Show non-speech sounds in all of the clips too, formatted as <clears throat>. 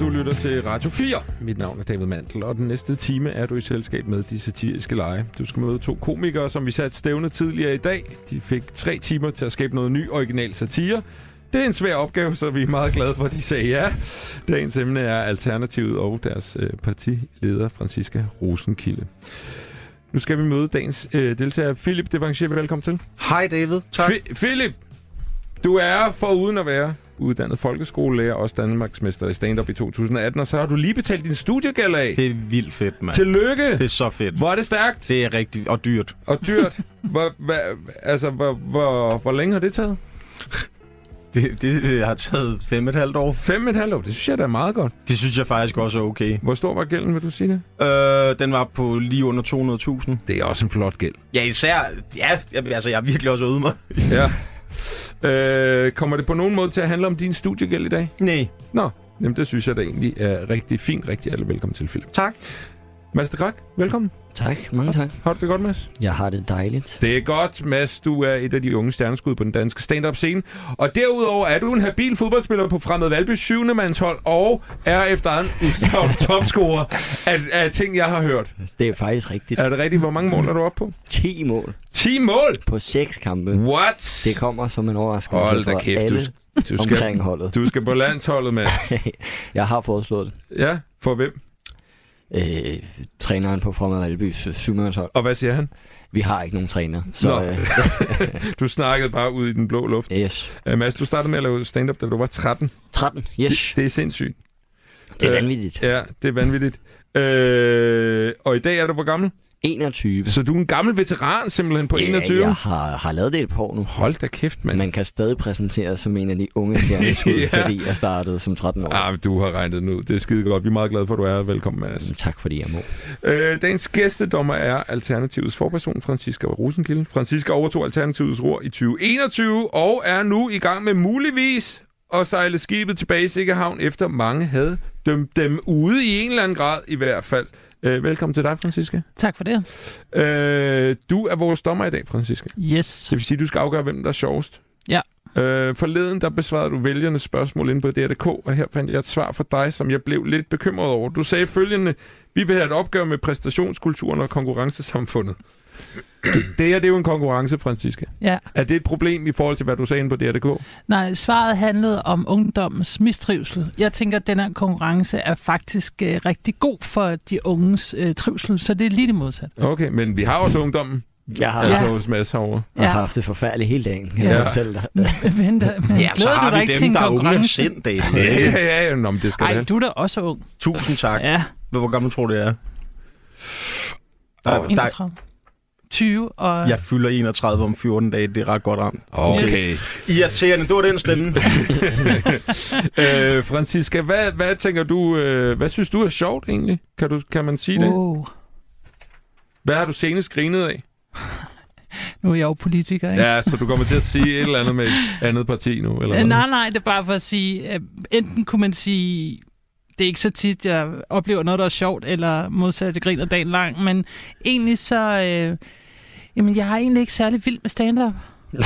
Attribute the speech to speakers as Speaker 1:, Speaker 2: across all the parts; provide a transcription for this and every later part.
Speaker 1: Du lytter til Radio 4. Mit navn er David Mantel, og den næste time er du i selskab med de satiriske lege. Du skal møde to komikere, som vi satte stævne tidligere i dag. De fik tre timer til at skabe noget ny original satire. Det er en svær opgave, så vi er meget glade for, at de sagde ja. Dagens emne er Alternativet og deres øh, partileder, Franziska Rosenkilde. Nu skal vi møde dagens øh, deltager, Philip Devancier. Velkommen til.
Speaker 2: Hej David. Tak.
Speaker 1: Fi- Philip, du er for uden at være uddannet folkeskolelærer, også Danmarksmester i stand-up i 2018, og så har du lige betalt din studiegæld af.
Speaker 2: Det er vildt fedt, mand.
Speaker 1: Tillykke!
Speaker 2: Det er så fedt.
Speaker 1: Hvor er det stærkt
Speaker 2: Det er rigtigt og dyrt.
Speaker 1: og dyrt. Hvor, hva, altså, hvor, hvor, hvor længe har det taget?
Speaker 2: Det, det øh, har taget fem et halvt år.
Speaker 1: Fem et halvt år. Det synes jeg da er meget godt.
Speaker 2: Det synes jeg faktisk også er okay.
Speaker 1: Hvor stor var gælden, vil du sige det?
Speaker 2: Øh, den var på lige under 200.000.
Speaker 1: Det er også en flot gæld.
Speaker 2: Ja, især... Ja, jeg, altså jeg har virkelig også øvet mig.
Speaker 1: Ja. Øh, kommer det på nogen måde til at handle om din studiegæld i dag?
Speaker 2: Nej.
Speaker 1: Nå, jamen det synes jeg da egentlig er rigtig fint. Rigtig alle velkommen til, Philip.
Speaker 2: Tak.
Speaker 1: Mads de Krak, velkommen.
Speaker 3: Tak, mange tak.
Speaker 1: Har du det godt, Mads?
Speaker 3: Jeg har det dejligt.
Speaker 1: Det er godt, Mads. Du er et af de unge stjerneskud på den danske stand-up-scene. Og derudover er du en habil fodboldspiller på Fremad Valby 7. mandshold, og er efter en
Speaker 3: <laughs>
Speaker 1: udsagt topscorer af, af, ting, jeg har hørt.
Speaker 3: Det er faktisk rigtigt.
Speaker 1: Er det rigtigt? Hvor mange mål er du oppe på?
Speaker 3: 10 mål
Speaker 1: 10 mål!
Speaker 3: på 6 kampe.
Speaker 1: What?
Speaker 3: Det kommer som en overraskelse
Speaker 1: Mm. Hold
Speaker 3: for
Speaker 1: da kæft,
Speaker 3: alle
Speaker 1: du, sk- du skal,
Speaker 3: omkring holdet.
Speaker 1: du skal på landsholdet, Mads.
Speaker 3: Jeg har foreslået det.
Speaker 1: Ja, for hvem?
Speaker 3: Øh, træneren på Fremad Albys øh, syvmandshold.
Speaker 1: Og hvad siger han?
Speaker 3: Vi har ikke nogen træner, så
Speaker 1: Nå.
Speaker 3: øh,
Speaker 1: Du snakkede bare ud i den blå luft.
Speaker 3: yes.
Speaker 1: Uh, Mads, du startede med at lave stand-up, da du var 13.
Speaker 3: 13, yes.
Speaker 1: Det, det er sindssygt.
Speaker 3: Det er
Speaker 1: øh,
Speaker 3: vanvittigt.
Speaker 1: Ja, det er vanvittigt. Øh, og i dag er du hvor gammel?
Speaker 3: 21.
Speaker 1: Så du er en gammel veteran simpelthen på 21?
Speaker 3: Ja, jeg har, har lavet det et par år nu.
Speaker 1: Hold da kæft, mand.
Speaker 3: Man kan stadig præsentere som en af de
Speaker 1: <laughs>
Speaker 3: unge stjerneskud,
Speaker 1: Ja.
Speaker 3: ja. fordi jeg startede som 13 år.
Speaker 1: Ah, du har regnet den ud. Det er skide godt. Vi er meget glade for, at du er. her. Velkommen, Mads.
Speaker 3: Tak fordi jeg må.
Speaker 1: Øh, dagens gæstedommer er Alternativets forperson, Franziska Rosenkilde. Franziska overtog Alternativets ror i 2021 og er nu i gang med muligvis at sejle skibet tilbage i sikker havn, efter mange havde dømt dem ude i en eller anden grad i hvert fald. Øh, velkommen til dig, Franziska.
Speaker 4: Tak for det.
Speaker 1: Øh, du er vores dommer i dag, Franziska.
Speaker 4: Yes.
Speaker 1: Det vil sige, at du skal afgøre, hvem der er sjovest.
Speaker 4: Ja.
Speaker 1: Øh, forleden der besvarede du vælgernes spørgsmål inde på DR.dk, og her fandt jeg et svar fra dig, som jeg blev lidt bekymret over. Du sagde følgende, vi vil have et opgør med præstationskulturen og konkurrencesamfundet. <clears throat> Det her, det er jo en konkurrence, Franziska.
Speaker 4: Ja.
Speaker 1: Er det et problem i forhold til, hvad du sagde inde på DR.dk?
Speaker 4: Nej, svaret handlede om ungdommens mistrivsel. Jeg tænker, at den her konkurrence er faktisk øh, rigtig god for de unges øh, trivsel, så det er lige det modsatte.
Speaker 1: Okay, men vi har også ungdommen,
Speaker 3: Jeg har,
Speaker 1: altså
Speaker 3: ja.
Speaker 4: Ja.
Speaker 1: hos Mads herovre.
Speaker 3: jeg har haft det forfærdeligt hele dagen, kan
Speaker 1: Ja.
Speaker 3: jeg fortælle dig.
Speaker 4: Vent, da- <laughs> men
Speaker 2: Ja, så
Speaker 4: glæder
Speaker 2: har
Speaker 4: du dig
Speaker 2: vi
Speaker 4: ikke til
Speaker 2: dem,
Speaker 4: en
Speaker 2: der er unge af
Speaker 4: konkurrence?
Speaker 2: sind, David.
Speaker 1: Ja, ja, ja. Nå, men det skal
Speaker 4: Ej,
Speaker 1: det.
Speaker 4: du er da også ung.
Speaker 2: Tusind tak.
Speaker 4: Ja,
Speaker 2: Hvor gammel tror du, det er? Der, der,
Speaker 4: 31. 20 og...
Speaker 2: jeg fylder 31 om 14 dage. Det er ret godt ramt.
Speaker 1: Okay.
Speaker 2: Irriterende. Det var den stemme.
Speaker 1: <laughs> øh, Franziska, hvad, hvad tænker du, øh, hvad synes du er sjovt egentlig? Kan, du, kan man sige det?
Speaker 4: Wow.
Speaker 1: Hvad har du senest grinet af?
Speaker 4: Nu er jeg jo politiker, ikke?
Speaker 1: Ja, så du kommer til at sige et eller andet med et andet parti nu? Eller
Speaker 4: Øh,
Speaker 1: hvad?
Speaker 4: Nej, nej, det er bare for at sige, at enten kunne man sige, det er ikke så tit, jeg oplever noget, der er sjovt, eller modsat, det griner dagen lang, men egentlig så, øh, jamen jeg har egentlig ikke særlig vild med stand-up.
Speaker 1: Jamen,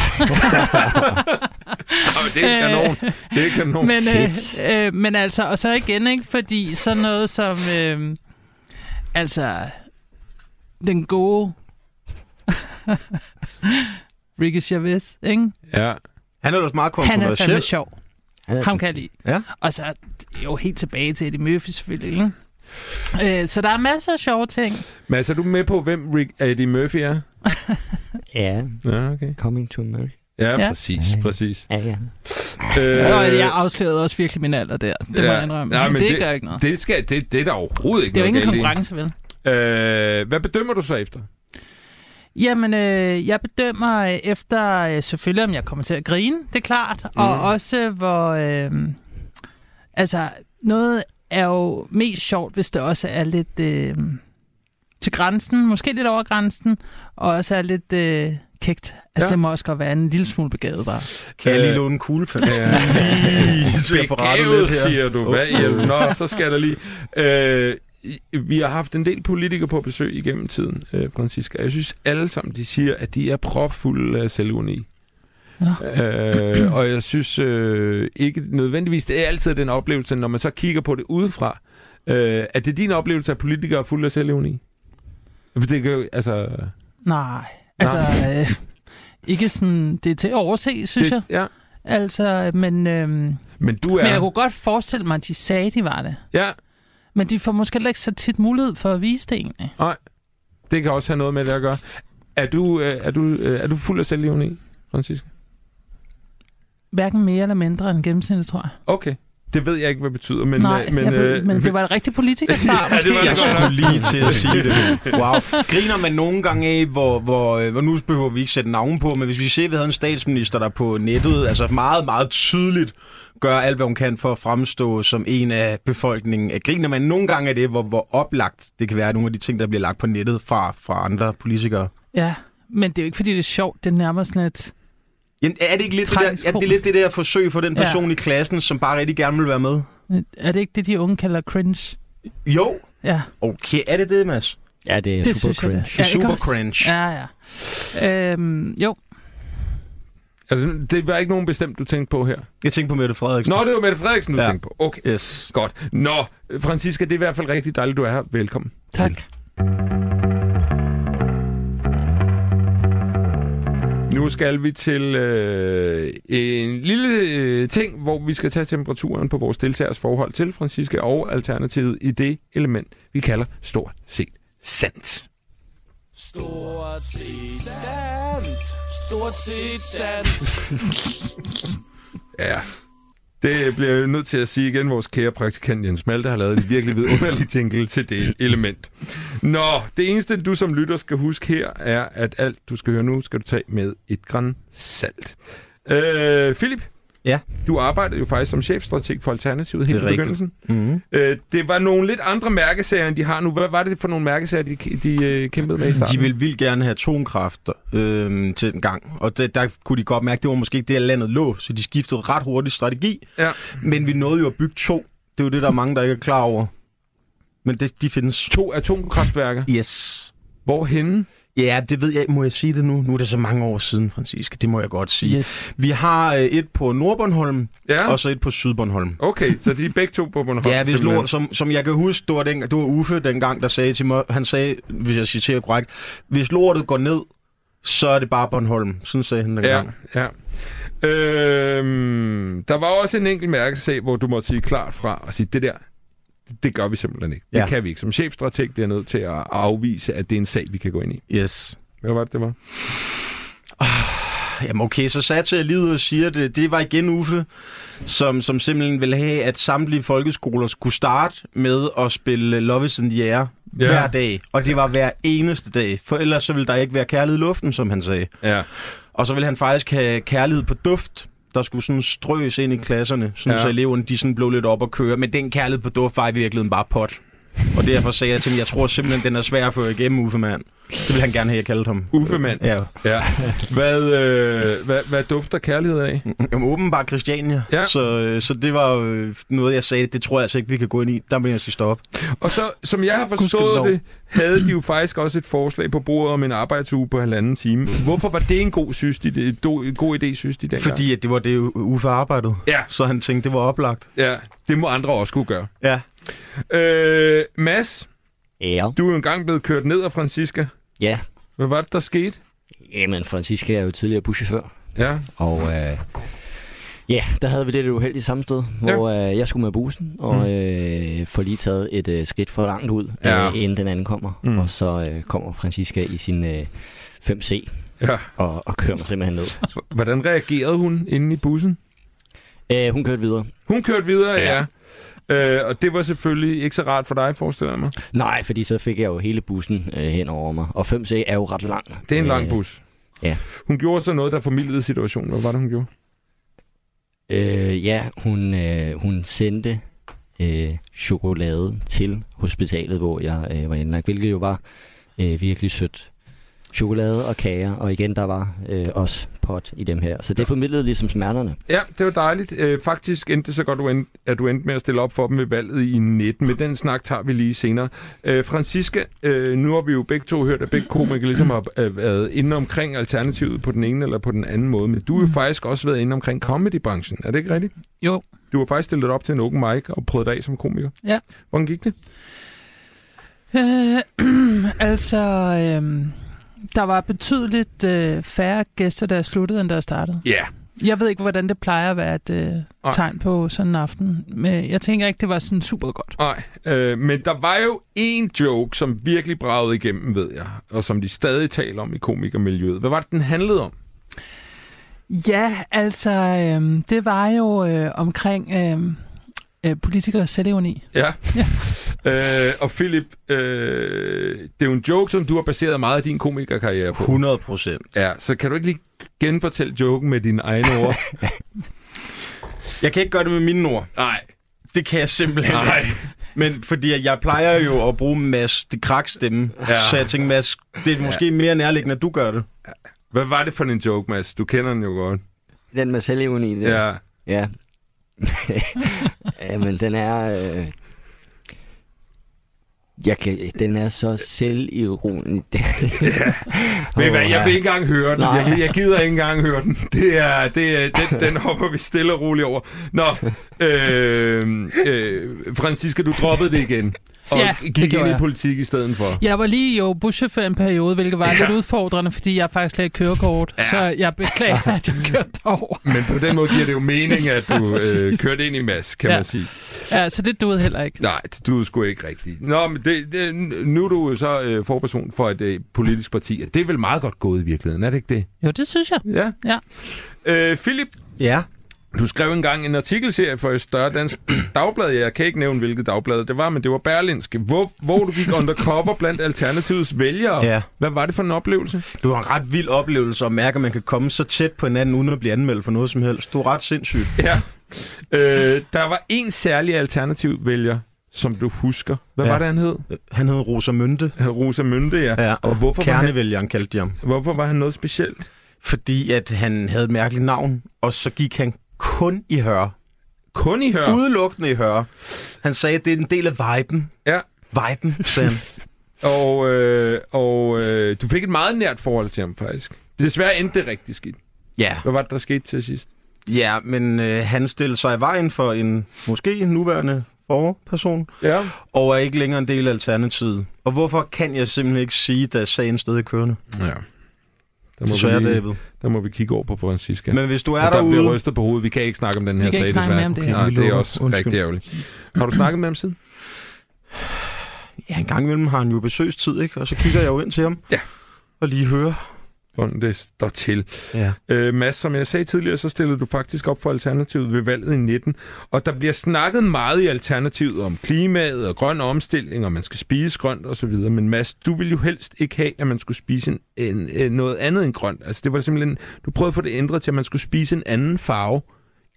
Speaker 1: det er kanon. Det er kanon.
Speaker 4: Øh, Men,
Speaker 3: fedt.
Speaker 4: øh, øh, men altså, og så igen, ikke? Fordi sådan noget som, øh, altså, den gode <laughs> Ricky Chavez, ikke?
Speaker 1: Ja.
Speaker 2: Han er da også meget
Speaker 4: Han er
Speaker 2: kontroversiel.
Speaker 4: fandme sjov.
Speaker 3: Han er
Speaker 4: Ham kan jeg lide.
Speaker 2: Ja.
Speaker 4: Og så jo helt tilbage til Eddie Murphy selvfølgelig. Ikke? Øh, så der er masser af sjove ting.
Speaker 1: Men altså, er du med på, hvem Rick øh, Eddie Murphy er?
Speaker 3: Ja,
Speaker 1: Ja, okay.
Speaker 3: coming to America.
Speaker 1: Ja, ja.
Speaker 4: Ja.
Speaker 1: præcis, præcis.
Speaker 3: Ja, ja.
Speaker 1: Øh,
Speaker 4: Øh, og jeg afslørede også virkelig min alder der. Det ja, må
Speaker 1: ja.
Speaker 4: jeg indrømme.
Speaker 1: Nej,
Speaker 4: men
Speaker 1: men
Speaker 4: det,
Speaker 1: det-
Speaker 4: det gør ikke noget. Det,
Speaker 1: det, skal, det, det er der overhovedet ikke
Speaker 4: det er jo
Speaker 1: noget
Speaker 4: ingen
Speaker 1: galt i.
Speaker 4: konkurrence, vel?
Speaker 1: Øh, hvad bedømmer du så efter?
Speaker 4: Jamen, øh, jeg bedømmer øh, efter øh, selvfølgelig, om jeg kommer til at grine, det er klart. Mm. Og også, hvor... Øh, altså, noget er jo mest sjovt, hvis det også er lidt øh, til grænsen, måske lidt over grænsen, og også er lidt øh, kægt. Altså,
Speaker 1: Ja.
Speaker 4: ja. det må også godt være en lille smule begavet, bare.
Speaker 2: Kan jeg
Speaker 1: Øh,
Speaker 2: lige låne en kuglepen?
Speaker 5: <laughs>
Speaker 1: Ja.
Speaker 2: Til at få rettet
Speaker 1: Begavet,
Speaker 2: lidt her.
Speaker 1: siger du. Hvad? Ja, nå, så skal der lige... Øh, i- vi har haft en del politikere på besøg igennem tiden, øh, Francisca. Jeg synes alle sammen, de siger, at de er propfulde af selvuni. Øh, og jeg synes øh, ikke nødvendigvis, det er altid den oplevelse, når man så kigger på det udefra. Øh, er det din oplevelse, at politikere er fulde af selvevni? For det kan jo, altså...
Speaker 4: Nej, altså... Øh, ikke sådan... Det er til at overse, synes det... jeg.
Speaker 1: det, ja.
Speaker 4: Altså, men... Øh,
Speaker 1: Men du er...
Speaker 4: Men jeg kunne godt forestille mig, at de sagde, de var det.
Speaker 1: Ja,
Speaker 4: Men de får måske heller ikke så tit mulighed for at vise det egentlig.
Speaker 1: det kan også have noget med det at gøre. Er du, øh, er du, øh, er du fuld af selvevni, Francisca?
Speaker 4: Hverken mere eller mindre end gennemsnittet, tror jeg.
Speaker 1: Okay. Det ved jeg ikke, hvad det betyder, men...
Speaker 4: Nej,
Speaker 1: øh, men,
Speaker 4: jeg ved,
Speaker 1: øh,
Speaker 4: men det var et rigtigt politikersvar,
Speaker 1: <laughs> Ja,
Speaker 4: måske.
Speaker 1: det var
Speaker 2: Jeg
Speaker 1: det godt.
Speaker 2: skulle lige til at sige det.
Speaker 1: <laughs>
Speaker 5: Wow. Griner man nogle gange af, hvor, hvor, øh, hvor nu behøver vi ikke sætte navn på, men hvis vi ser, at vi havde en statsminister, der på nettet altså meget, meget tydeligt gør alt, hvad hun kan for at fremstå som en af befolkningen. Øh, Griner man nogle gange af det, hvor, hvor oplagt det kan være, nogle af de ting, der bliver lagt på nettet fra, fra andre politikere?
Speaker 4: Ja, men det er jo ikke, fordi det er sjovt. Det er nærmere sådan et...
Speaker 5: Jamen, er det ikke lidt det, der, er det, lidt det der forsøg for den person ja. i klassen, som bare rigtig gerne vil være med?
Speaker 4: Er det ikke det, de unge kalder cringe?
Speaker 5: Jo.
Speaker 4: Ja,
Speaker 5: Okay, er det det, Mads?
Speaker 3: Ja, det er
Speaker 4: det
Speaker 3: super
Speaker 4: synes
Speaker 3: cringe.
Speaker 4: jeg, det er. Ja, ikke
Speaker 5: Super
Speaker 4: også?
Speaker 5: cringe.
Speaker 4: Ja, ja. Øhm, jo,
Speaker 1: Er det, Altså, det var ikke nogen bestemt, du tænkte på her.
Speaker 5: Jeg tænkte på Mette Frederiksen.
Speaker 1: Nå, det var Mette Frederiksen, du ja.
Speaker 5: Ja.
Speaker 1: tænkte på. Okay,
Speaker 5: Yes.
Speaker 1: godt. Nå, Francisca, det er i hvert fald rigtig dejligt, du er her. Velkommen.
Speaker 4: tak.
Speaker 1: Nu skal vi til øh, en lille øh, ting, hvor vi skal tage temperaturen på vores deltagers forhold til Francisca og Alternativet i det element, vi kalder stort set sandt. <laughs> Ja. Det bliver jeg nødt til at sige igen. Vores kære praktikant Jens Malte har lavet en virkelig vidunderlig jingle til det element. Nå, det eneste, du som lytter skal huske her, er, at alt, du skal høre nu, skal du tage med et gran salt. Øh, Philip?
Speaker 2: Ja?
Speaker 1: Du arbejdede jo faktisk som chefstrateg for Alternativet helt
Speaker 2: Det er
Speaker 1: i
Speaker 2: rigtigt.
Speaker 1: begyndelsen.
Speaker 5: Mm-hmm.
Speaker 2: Mm.
Speaker 1: Øh, det var nogle lidt andre mærkesager, end de har nu. Hvad var det for nogle mærkesager, de, de øh, kæmpede med i starten?
Speaker 5: De ville vildt gerne have atomkraft øh, til den gang, og det, der kunne de godt mærke, det var måske ikke det, landet lå, så de skiftede ret hurtigt strategi.
Speaker 1: Ja.
Speaker 5: Men vi nåede jo at bygge to. Det er jo det, der er mange, der ikke er klar over. Men det, de findes.
Speaker 1: To atomkraftværker.
Speaker 5: Yes.
Speaker 1: Hvorhenne?
Speaker 5: Ja, det ved jeg. Må jeg sige det nu? Nu er det så mange år siden, Francisca. Det må jeg godt sige.
Speaker 4: Yes.
Speaker 5: Vi har øh, et på Nordbornholm,
Speaker 1: Ja,
Speaker 5: ja. og så et på Sydbornholm.
Speaker 1: okay, så de er begge to på Bornholm.
Speaker 5: Ja, hvis
Speaker 1: simpelthen.
Speaker 5: lort, som, som jeg kan huske, det var, den, det var Uffe dengang, der sagde til mig, han sagde, hvis jeg citerer korrekt, hvis lortet går ned, så er det bare Bornholm. Sådan sagde han
Speaker 1: Ja,
Speaker 5: dengang.
Speaker 1: ja. Øhm, der var også en enkelt mærkesag, hvor du måtte sige klart fra og sige, det der, det, det gør vi simpelthen ikke. Det
Speaker 5: Ja.
Speaker 1: kan vi ikke. Som chefstrateg bliver jeg nødt til at afvise, at det er en sag, vi kan gå ind i.
Speaker 5: Ja. Yes.
Speaker 1: Hvad var det, det var?
Speaker 5: Jamen okay, så satte jeg livet og siger det. Det var igen Uffe, som, som simpelthen ville have, at samtlige folkeskoler skulle starte med at spille Love is in the air
Speaker 1: Ja.
Speaker 5: ja. hver dag. Og det var hver eneste dag, for ellers så ville der ikke være kærlighed i luften, som han sagde.
Speaker 1: Ja.
Speaker 5: Og så ville han faktisk have kærlighed på duft, der skulle sådan strøs ind i klasserne, sådan
Speaker 1: Ja.
Speaker 5: ja. så eleverne de sådan blev lidt op og køre. Men den kærlighed på duft var i virkeligheden bare pot. Og derfor sagde jeg til ham, jeg tror simpelthen, den er svær at få igennem, Uffe mand. Det ville han gerne have, jeg kaldte ham.
Speaker 1: Uffe mand.
Speaker 5: Ja, <laughs>
Speaker 1: Ja. Hvad, øh, hvad, hvad dufter kærlighed af?
Speaker 5: Jamen, åbenbart Christiania.
Speaker 1: Ja.
Speaker 5: Ja. Så, øh, så det var øh, noget, jeg sagde, det tror jeg altså ikke, vi kan gå ind i. Der vil jeg sige stop.
Speaker 1: Og så, som jeg har forstået
Speaker 4: Gudskelov.
Speaker 1: det, havde de jo faktisk også et forslag på bordet om en arbejdsuge på halvanden time. Hvorfor var det en god, synes de, det- do- en god idé, synes de dengang?
Speaker 5: Fordi at det var det, Uffe arbejdede.
Speaker 1: Ja.
Speaker 5: Så han tænkte, det var oplagt.
Speaker 1: Ja, det må andre også kunne gøre.
Speaker 5: Ja.
Speaker 1: Øh, Mads,
Speaker 3: Ja.
Speaker 1: du er jo engang blevet kørt ned af Francisca.
Speaker 3: Ja.
Speaker 1: Hvad var det, der skete?
Speaker 3: Jamen, Francisca er jo tidligere buschauffør.
Speaker 1: Ja,
Speaker 3: Og øh, ja, der havde vi det lidt uheldigt samme sted, hvor øh, jeg skulle med bussen, og
Speaker 1: Mm.
Speaker 3: øh, får lige taget et øh, skridt for langt ud,
Speaker 1: Ja.
Speaker 3: ja. øh, inden den anden kommer.
Speaker 1: Mm.
Speaker 3: Mm. Og så øh, kommer Francisca i sin øh, 5C
Speaker 1: ja.
Speaker 3: og, og kører mig simpelthen ned.
Speaker 1: H- Hvordan reagerede hun inde i bussen?
Speaker 3: Øh, hun kørte videre.
Speaker 1: Hun kørte videre, ja. ja. Øh, og det var selvfølgelig ikke så rart for dig, forestiller jeg mig.
Speaker 3: Nej, fordi så fik jeg jo hele bussen øh, hen over mig. Og 5C er jo ret lang.
Speaker 1: Det er en lang
Speaker 3: Øh,
Speaker 1: bus.
Speaker 3: ja.
Speaker 1: Hun gjorde så noget, der formildede situationen. Hvad var det, hun gjorde?
Speaker 3: Øh, ja, hun, øh, hun sendte øh, chokolade til hospitalet, hvor jeg øh, var indlagt, hvilket jo var øh, virkelig sødt. chokolade og kager, og igen, der var øh, også pot i dem her. Så det formidlede ligesom smerterne.
Speaker 1: Ja, det var dejligt. Øh, faktisk endte det så godt, du end, at du endte med at stille op for dem ved valget i 19. Men den snak tager vi lige senere. Øh, Franziska, øh, nu har vi jo begge to hørt, at begge komikere ligesom har øh, været inde omkring alternativet på den ene eller på den anden måde. Men du har jo faktisk også været inde omkring comedybranchen. Er det ikke rigtigt?
Speaker 4: Jo, <clears throat>
Speaker 1: Du har faktisk stillet op til en open mic og prøvet dig af som komiker.
Speaker 4: Ja.
Speaker 1: Hvordan gik det?
Speaker 4: Øh, altså, øh, der var betydeligt øh, færre gæster, der sluttede, end der startede.
Speaker 1: Ja. Yeah.
Speaker 4: Jeg ved ikke, hvordan det plejer at være et øh,
Speaker 1: Nej.
Speaker 4: tegn på sådan en aften. Men jeg tænker ikke, det var sådan super godt.
Speaker 1: Nej, øh, men der var jo en joke, som virkelig bragede igennem, ved jeg, og som de stadig taler om i komikermiljøet. Hvad var det, den handlede om?
Speaker 4: Ja, altså, øh, det var jo øh, omkring øh, øh, politikers selvevni.
Speaker 1: Ja. <laughs> ja. Øh, og Philip, øh, det er jo en joke, som du har baseret meget af din komikerkarriere på.
Speaker 5: 100 procent.
Speaker 1: Ja, så kan du ikke lige genfortælle joken med dine egne ord?
Speaker 5: Jeg kan ikke gøre det med mine ord.
Speaker 1: <laughs> Nej.
Speaker 5: Det kan jeg simpelthen ikke. Men fordi at jeg plejer jo at bruge Mads, det krak stemme. Ja. Så jeg tænkte, Mads, det er måske mere nærliggende, at du gør det.
Speaker 1: Hvad var det for en joke, Mads? Du kender den jo godt.
Speaker 3: Den med selvevne i det.
Speaker 1: Ja.
Speaker 3: Ja. <laughs> Jamen, den er... Øh... Jeg kan... Den er så selvironisk.
Speaker 1: Ved I hvad, jeg vil ikke engang høre den.
Speaker 3: Nej.
Speaker 1: Jeg, jeg gider ikke engang høre den. Det er, det er, den, den hopper vi stille og roligt over. Nå, øh, øh, Franziska, du droppede det igen. Og
Speaker 4: Ja, det
Speaker 1: gik ind
Speaker 4: gjorde
Speaker 1: i
Speaker 4: jeg.
Speaker 1: politik i stedet for.
Speaker 4: Jeg var lige jo buschauffør en periode, hvilket var
Speaker 1: Ja.
Speaker 4: ja. lidt udfordrende, fordi jeg faktisk slet ikke kørekort. Ja. Så jeg <laughs> beklager, at jeg kørte over.
Speaker 1: Men på den måde giver det jo mening, at <laughs> du øh,
Speaker 4: Præcis.
Speaker 1: kørte ind i Mads, kan ja.
Speaker 4: Ja.
Speaker 1: man sige.
Speaker 4: Ja, så det duede heller ikke.
Speaker 1: Nej, du er sgu ikke rigtig. Nå, men det, det, nu er du jo så øh, forperson for et øh, politisk parti. og Det er vel meget godt gået i virkeligheden, er det ikke det?
Speaker 4: Jo, det synes jeg.
Speaker 1: Ja.
Speaker 4: Ja.
Speaker 1: Øh, Philip,
Speaker 5: Ja.
Speaker 1: Du skrev engang en artikelserie for et større dansk <clears throat> dagblad. Jeg kan ikke nævne, hvilket dagblad det var, men det var Berlinske. Hvor, hvor du gik undercover blandt Alternativets vælgere.
Speaker 5: Ja.
Speaker 1: Hvad var det for en oplevelse?
Speaker 5: Det var en ret vild oplevelse at mærke, at man kan komme så tæt på hinanden, uden at blive anmeldt for noget som helst. Det var ret sindssygt.
Speaker 1: Ja. Øh, der var en særlig alternativ vælger, som du husker. Hvad ja. var
Speaker 5: Ja.
Speaker 1: det, han hed?
Speaker 5: Han hed Rosa Mønte.
Speaker 1: Rosa Mynde, ja.
Speaker 5: Ja,
Speaker 1: Og hvorfor var, han,
Speaker 5: Kernevælgeren kaldte de ham.
Speaker 1: hvorfor var han noget specielt?
Speaker 5: Fordi at han havde et mærkeligt navn, og så gik han kun i høre.
Speaker 1: Kun i hør.
Speaker 5: Ja. Udelukkende i høre. Han sagde, at det er en del af viben.
Speaker 1: Ja.
Speaker 5: Viben, sagde han.
Speaker 1: Og, øh, og øh, du fik et meget nært forhold til ham, faktisk. Desværre endte det rigtig skidt.
Speaker 5: <laughs> ja.
Speaker 1: Hvad var det, der skete til sidst?
Speaker 5: ja, men øh, han stillede sig i vejen for en måske nuværende forperson,
Speaker 1: Ja.
Speaker 5: og er ikke længere en del af Alternativet. Og hvorfor kan jeg simpelthen ikke sige, da sagen stadig er kørende?
Speaker 1: Ja. Der
Speaker 5: Så er
Speaker 1: vi lige-
Speaker 5: det ved.
Speaker 1: Der må vi kigge over på Francisca.
Speaker 5: Men hvis du
Speaker 1: er
Speaker 5: er
Speaker 1: og der bliver
Speaker 5: derude...
Speaker 1: rystet på hovedet. Vi kan ikke snakke om den her
Speaker 4: Vi kan
Speaker 1: sag,
Speaker 4: ikke snakke
Speaker 1: desværre.
Speaker 4: mere om det her.
Speaker 1: Nej,
Speaker 5: Vi
Speaker 1: det er
Speaker 5: lukker.
Speaker 1: også Undskyld.
Speaker 5: Undskyld.
Speaker 1: rigtig ærgerligt. Har du snakket med ham siden?
Speaker 5: Ja, en gang imellem har han jo besøgstid, ikke? Og så kigger jeg jo ind til ham.
Speaker 1: Ja.
Speaker 5: Og lige hører.
Speaker 1: Hvordan det står til.
Speaker 5: Ja.
Speaker 1: Øh, Mads, som jeg sagde tidligere, så stillede du faktisk op for Alternativet ved valget i 19. Og der bliver snakket meget i Alternativet om klimaet og grøn omstilling, og man skal spise grønt osv. Men Mads, du ville jo helst ikke have, at man skulle spise en, en, en, noget andet end grønt. Altså det var simpelthen, du prøvede at få det ændret til, at man skulle spise en anden farve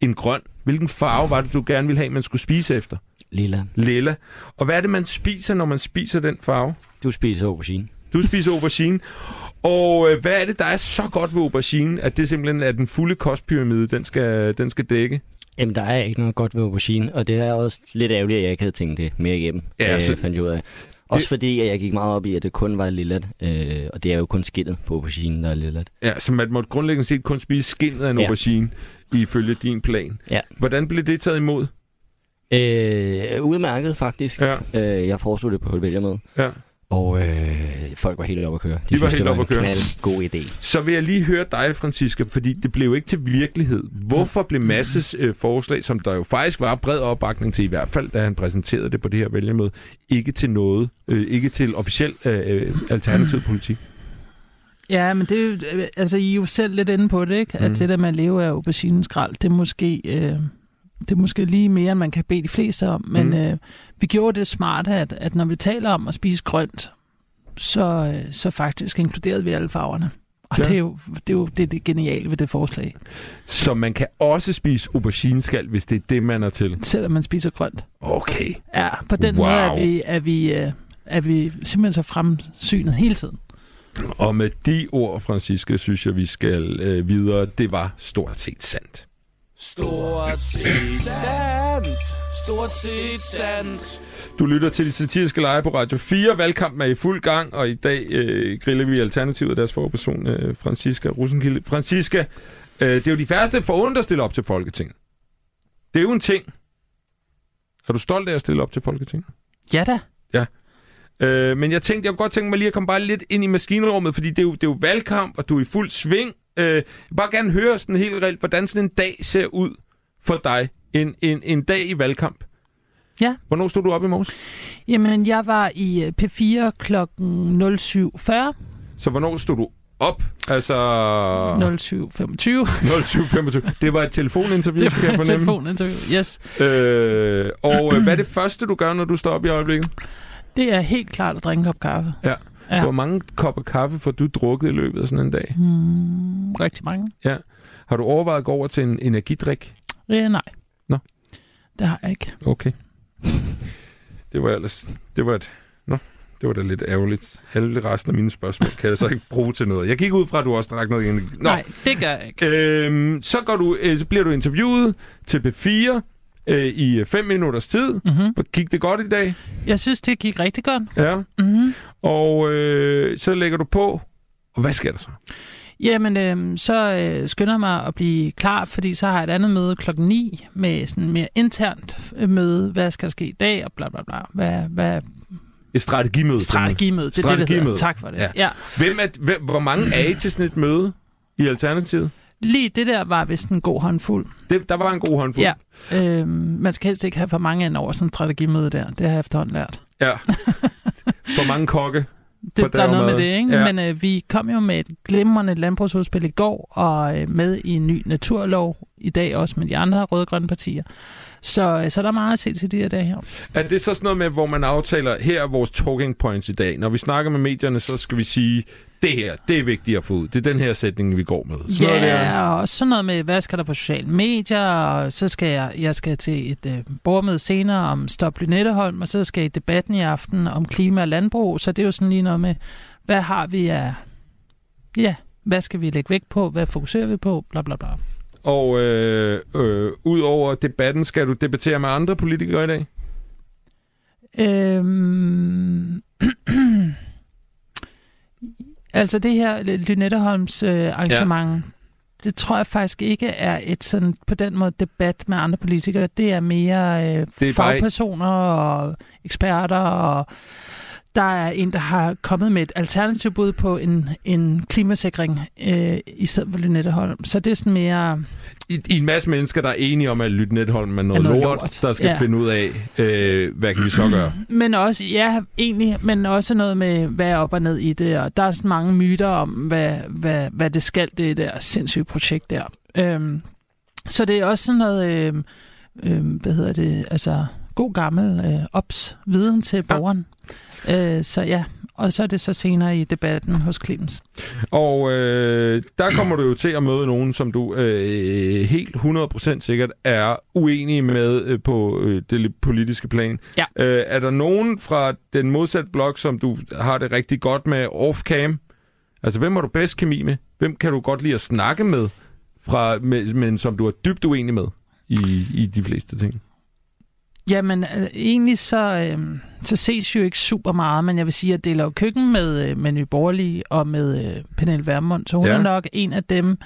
Speaker 1: end grøn. Hvilken farve var det, du gerne ville have, man skulle spise efter?
Speaker 3: Lilla,
Speaker 1: lilla. Og hvad er det, man spiser, når man spiser den farve?
Speaker 3: du spiser aubergine.
Speaker 1: Du spiser aubergine. Og øh, hvad er det, der er så godt ved aubergine, at det simpelthen er den fulde kostpyramide, den skal, den skal dække?
Speaker 3: Jamen, der er ikke noget godt ved aubergine, og det er også lidt ærgerligt, at jeg ikke havde tænkt det mere igennem,
Speaker 1: Ja,
Speaker 3: ja, øh,
Speaker 1: så-
Speaker 3: fandt jeg ud af. Også fordi, at jeg gik meget op i, at det kun var lillet, øh, og det er jo kun skidtet på auberginen, der er lillet.
Speaker 1: Ja, så man måtte grundlæggende set kun spise skinnet af en
Speaker 3: Ja.
Speaker 1: aubergine, ifølge din plan.
Speaker 3: Ja.
Speaker 1: Hvordan blev det taget imod?
Speaker 3: Øh, udmærket, faktisk.
Speaker 1: Ja,
Speaker 3: Øh, jeg foreslog det på et vælgermøde,
Speaker 1: ja.
Speaker 3: og øh, folk var helt oppe at køre. De,
Speaker 1: var helt
Speaker 3: det var
Speaker 1: oppe at køre.
Speaker 3: en god idé.
Speaker 1: Så vil jeg lige høre dig, Francisca, fordi det blev ikke til virkelighed. Hvorfor
Speaker 3: Mm.
Speaker 1: blev Masses øh, forslag, som der jo faktisk var bred opbakning til, i hvert fald da han præsenterede det på det her vælgermøde, ikke til noget, øh, ikke til officiel øh, øh, alternativ politik?
Speaker 4: Ja, men det, er jo- øh, altså, I er jo selv lidt inde på det, ikke? At
Speaker 1: Mm.
Speaker 4: det der med at leve af aubergineskrald, det er måske... Øh, det er måske lige mere, end man kan bede de fleste om, men
Speaker 1: Mm.
Speaker 4: mm. øh, vi gjorde det smarte, at, at når vi taler om at spise grønt, så, øh, så faktisk inkluderede vi alle farverne. Og
Speaker 1: Ja.
Speaker 4: ja. det er jo det, er jo det, det geniale ved det forslag,
Speaker 1: Så man kan også spise aubergineskal, hvis det er det, man er til.
Speaker 4: selvom man spiser grønt.
Speaker 1: Okay.
Speaker 4: Ja, på den
Speaker 1: Wow.
Speaker 4: måde er vi, er, vi, øh, er vi simpelthen så fremsynet hele tiden.
Speaker 1: Og med de ord, Franciske, synes jeg, vi skal øh, videre. Det var stort set sandt.
Speaker 6: Stort set sandt. Stort set sandt.
Speaker 1: Du lytter til de satiriske lege på Radio 4. Valgkampen er i fuld gang, og i dag øh, griller vi Alternativet og deres forperson, øh, Franziska Rosenkilde. Franziska, øh, det er jo de færreste foruden, der stiller op til Folketinget. Det er jo en ting. Er du stolt af at stille op til Folketinget?
Speaker 4: Ja da.
Speaker 1: Øh, men jeg tænkte, jeg kunne godt tænke mig lige at komme bare lidt ind i maskinrummet, fordi det er jo, det er jo valgkamp, og du er i fuld sving. Øh, jeg vil bare gerne høre sådan helt reelt, hvordan sådan en dag ser ud for dig. En, en, en dag i valgkamp.
Speaker 4: Ja.
Speaker 1: Hvornår stod du op i morges?
Speaker 4: Jamen, jeg var i øh, P4 klokken 07.40,
Speaker 1: Så hvornår stod du op? Altså... <laughs> 07.25.
Speaker 4: 07.25.
Speaker 1: Det var et telefoninterview,
Speaker 4: Det
Speaker 1: kan
Speaker 4: var
Speaker 1: jeg
Speaker 4: et
Speaker 1: fornemme.
Speaker 4: telefoninterview. Yes.
Speaker 1: Øh, og øh, hvad er det første, du gør, når du står op i øjeblikket?
Speaker 4: Det er helt klart at drikke en kop kaffe. Ja.
Speaker 1: Hvor mange kopper kaffe får du drukket i løbet af sådan en dag?
Speaker 4: Hmm, rigtig mange.
Speaker 1: Har du overvejet at gå over til en energidrik?
Speaker 4: Øh, nej.
Speaker 1: Nå.
Speaker 4: Det har jeg ikke.
Speaker 1: Okay. Det var ellers... Det var et... Nå, det var da lidt ærgerligt. Alle resten af mine spørgsmål kan jeg så ikke bruge til noget. Jeg gik ud fra, at du også drak noget energi. Nå,
Speaker 4: Nej, det gør jeg ikke.
Speaker 1: Øhm, så går du, øh, så bliver du interviewet til P4 øh, i 5 minutters tid.
Speaker 4: Mm-hmm.
Speaker 1: Gik det godt i dag?
Speaker 4: Jeg synes, det gik rigtig godt.
Speaker 1: Ja.
Speaker 4: Mm-hmm.
Speaker 1: Og øh, så lægger du på. Og hvad sker der så?
Speaker 4: Jamen, øh, så øh, skynder jeg mig at blive klar, fordi så har jeg et andet møde klokken 9 med sådan mere internt øh, møde. Hvad skal der ske i dag? Og bla bla bla. Hvad, hvad
Speaker 1: Et strategimøde.
Speaker 4: strategimøde? Det er det, det hedder.
Speaker 1: Strategimøde.
Speaker 4: Tak for det.
Speaker 1: Ja.
Speaker 4: Ja. ja.
Speaker 1: Hvem er, hvem, hvor mange er I til sådan et møde i Alternativet?
Speaker 4: Lige det der var vist en god håndfuld.
Speaker 1: Det, der var en god håndfuld.
Speaker 4: Ja. Øh, man skal helst ikke have for mange ind over sådan en strategimøde der. Det har jeg efterhånden lært.
Speaker 1: ja. For mange kokke.
Speaker 4: Det, der er noget med
Speaker 1: mad.
Speaker 4: det, ikke?
Speaker 1: Ja.
Speaker 4: Ja. Men øh, vi kom jo med et glimrende landbrugsudspil i går, og øh, med i en ny naturlov i dag også med de andre røde-grønne partier. Så, øh, så der er meget at se til de her dage her.
Speaker 1: Er det så sådan noget med, hvor man aftaler, her er vores talking points i dag. Når vi snakker med medierne, så skal vi sige, det her, det er vigtigt at få ud. Det er den her sætning, vi går med.
Speaker 4: Ja,
Speaker 1: noget der.
Speaker 4: yeah, og sådan noget med, hvad skal der på sociale medier, og så skal jeg, jeg skal til et øh, borgermøde senere om Stop Lynetteholm, og så skal jeg i debatten i aften om klima og landbrug, så det er jo sådan lige noget med, hvad har vi af, ja, hvad skal vi lægge vægt på, hvad fokuserer vi på, bla bla bla.
Speaker 1: Og øh, øh, ud over debatten, skal du debattere med andre politikere i dag?
Speaker 4: Øhm... <clears throat> altså det her Lynetteholms øh, arrangement, ja. det tror jeg faktisk ikke er et sådan på den måde debat med andre politikere. Det er mere øh,
Speaker 1: bare-
Speaker 4: det er fagpersoner bare... og eksperter og der er en, der har kommet med et alternativ bud på en, en klimasikring øh, i stedet for Lynetteholm. Så det er sådan mere...
Speaker 1: I, I en masse mennesker, der er enige om, at Lyt Netholm er noget, noget lort, lort, der skal ja. finde ud af, øh, hvad kan vi så gøre?
Speaker 4: Men også, ja, egentlig, men også noget med, hvad er op og ned i det, og der er sådan mange myter om, hvad, hvad, hvad det skal, det der sindssyge projekt der. Øhm, så det er også sådan noget, øhm, øhm, hvad hedder det, altså god gammel øh, ops viden til borgeren. Øh, så ja, og så er det så senere i debatten hos Clemens.
Speaker 1: Og øh, der kommer du jo til at møde nogen, som du øh, helt 100% sikkert er uenig med øh, på øh, det li- politiske plan.
Speaker 4: Ja.
Speaker 1: Øh, er der nogen fra den modsatte blok, som du har det rigtig godt med off-cam? Altså, hvem har du bedst kemi med? Hvem kan du godt lide at snakke med, fra, med men som du er dybt uenig med i, i de fleste ting?
Speaker 4: Jamen, øh, egentlig så, øh, så ses vi jo ikke super meget, men jeg vil sige, at jeg deler jo køkken med, øh, med Nye Borgerlige og med øh, Pernille Vermund, så hun
Speaker 1: Ja.
Speaker 4: ja. er nok en af dem,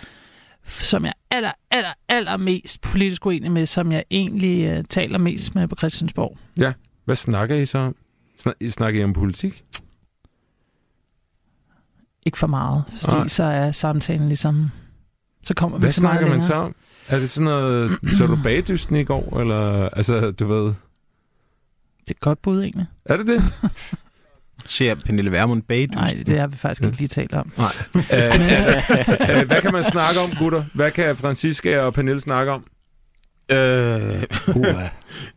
Speaker 4: f- som jeg aller, aller, aller mest politisk uenig med, som jeg egentlig øh, taler mest med på Christiansborg.
Speaker 1: Hvad snakker I så om? Snak, I snakker I om politik?
Speaker 4: Ikke for meget, fordi
Speaker 1: Nej.
Speaker 4: så er samtalen ligesom... Så kommer
Speaker 1: Hvad
Speaker 4: vi så meget
Speaker 1: snakker man
Speaker 4: længere.
Speaker 1: så om? Er det sådan noget, så er du bagdysten i går, eller, altså, du ved,
Speaker 4: Det er et godt bud, egentlig.
Speaker 1: er det det?
Speaker 5: Ser Pernille Vermund bag
Speaker 4: Nej, det har vi faktisk ikke lige talt om.
Speaker 1: øh, Æh, øh, hvad kan man snakke om, gutter? Hvad kan Francisca og Pernille snakke om?
Speaker 5: Øh,
Speaker 1: <laughs>
Speaker 3: Uha.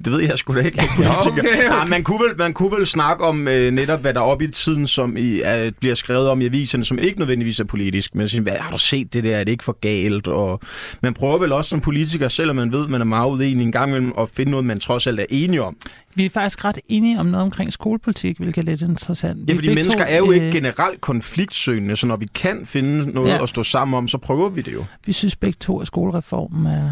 Speaker 5: det ved jeg sgu da ikke. Jeg er politiker.
Speaker 1: okay.
Speaker 5: Nej, man, kunne vel, man kunne vel snakke om øh, netop, hvad der er oppe i tiden, som i, øh, bliver skrevet om i aviserne, som ikke nødvendigvis er politisk. Men siger, hvad, har du set det der? Er det ikke for galt? Og man prøver vel også som politiker, selvom man ved, man er meget uenig en gang imellem, at finde noget, man trods alt er enige om.
Speaker 4: <laughs> Vi er faktisk ret enige om noget omkring skolepolitik, hvilket er lidt interessant.
Speaker 5: Ja,
Speaker 4: Vi
Speaker 5: fordi
Speaker 4: begge
Speaker 5: mennesker
Speaker 4: to,
Speaker 5: er jo ikke
Speaker 4: øh,
Speaker 5: generelt konfliktsøgende, så når vi kan finde noget
Speaker 4: Ja.
Speaker 5: ja. at stå sammen om, så prøver vi det jo.
Speaker 4: Vi synes begge to, at skolereformen er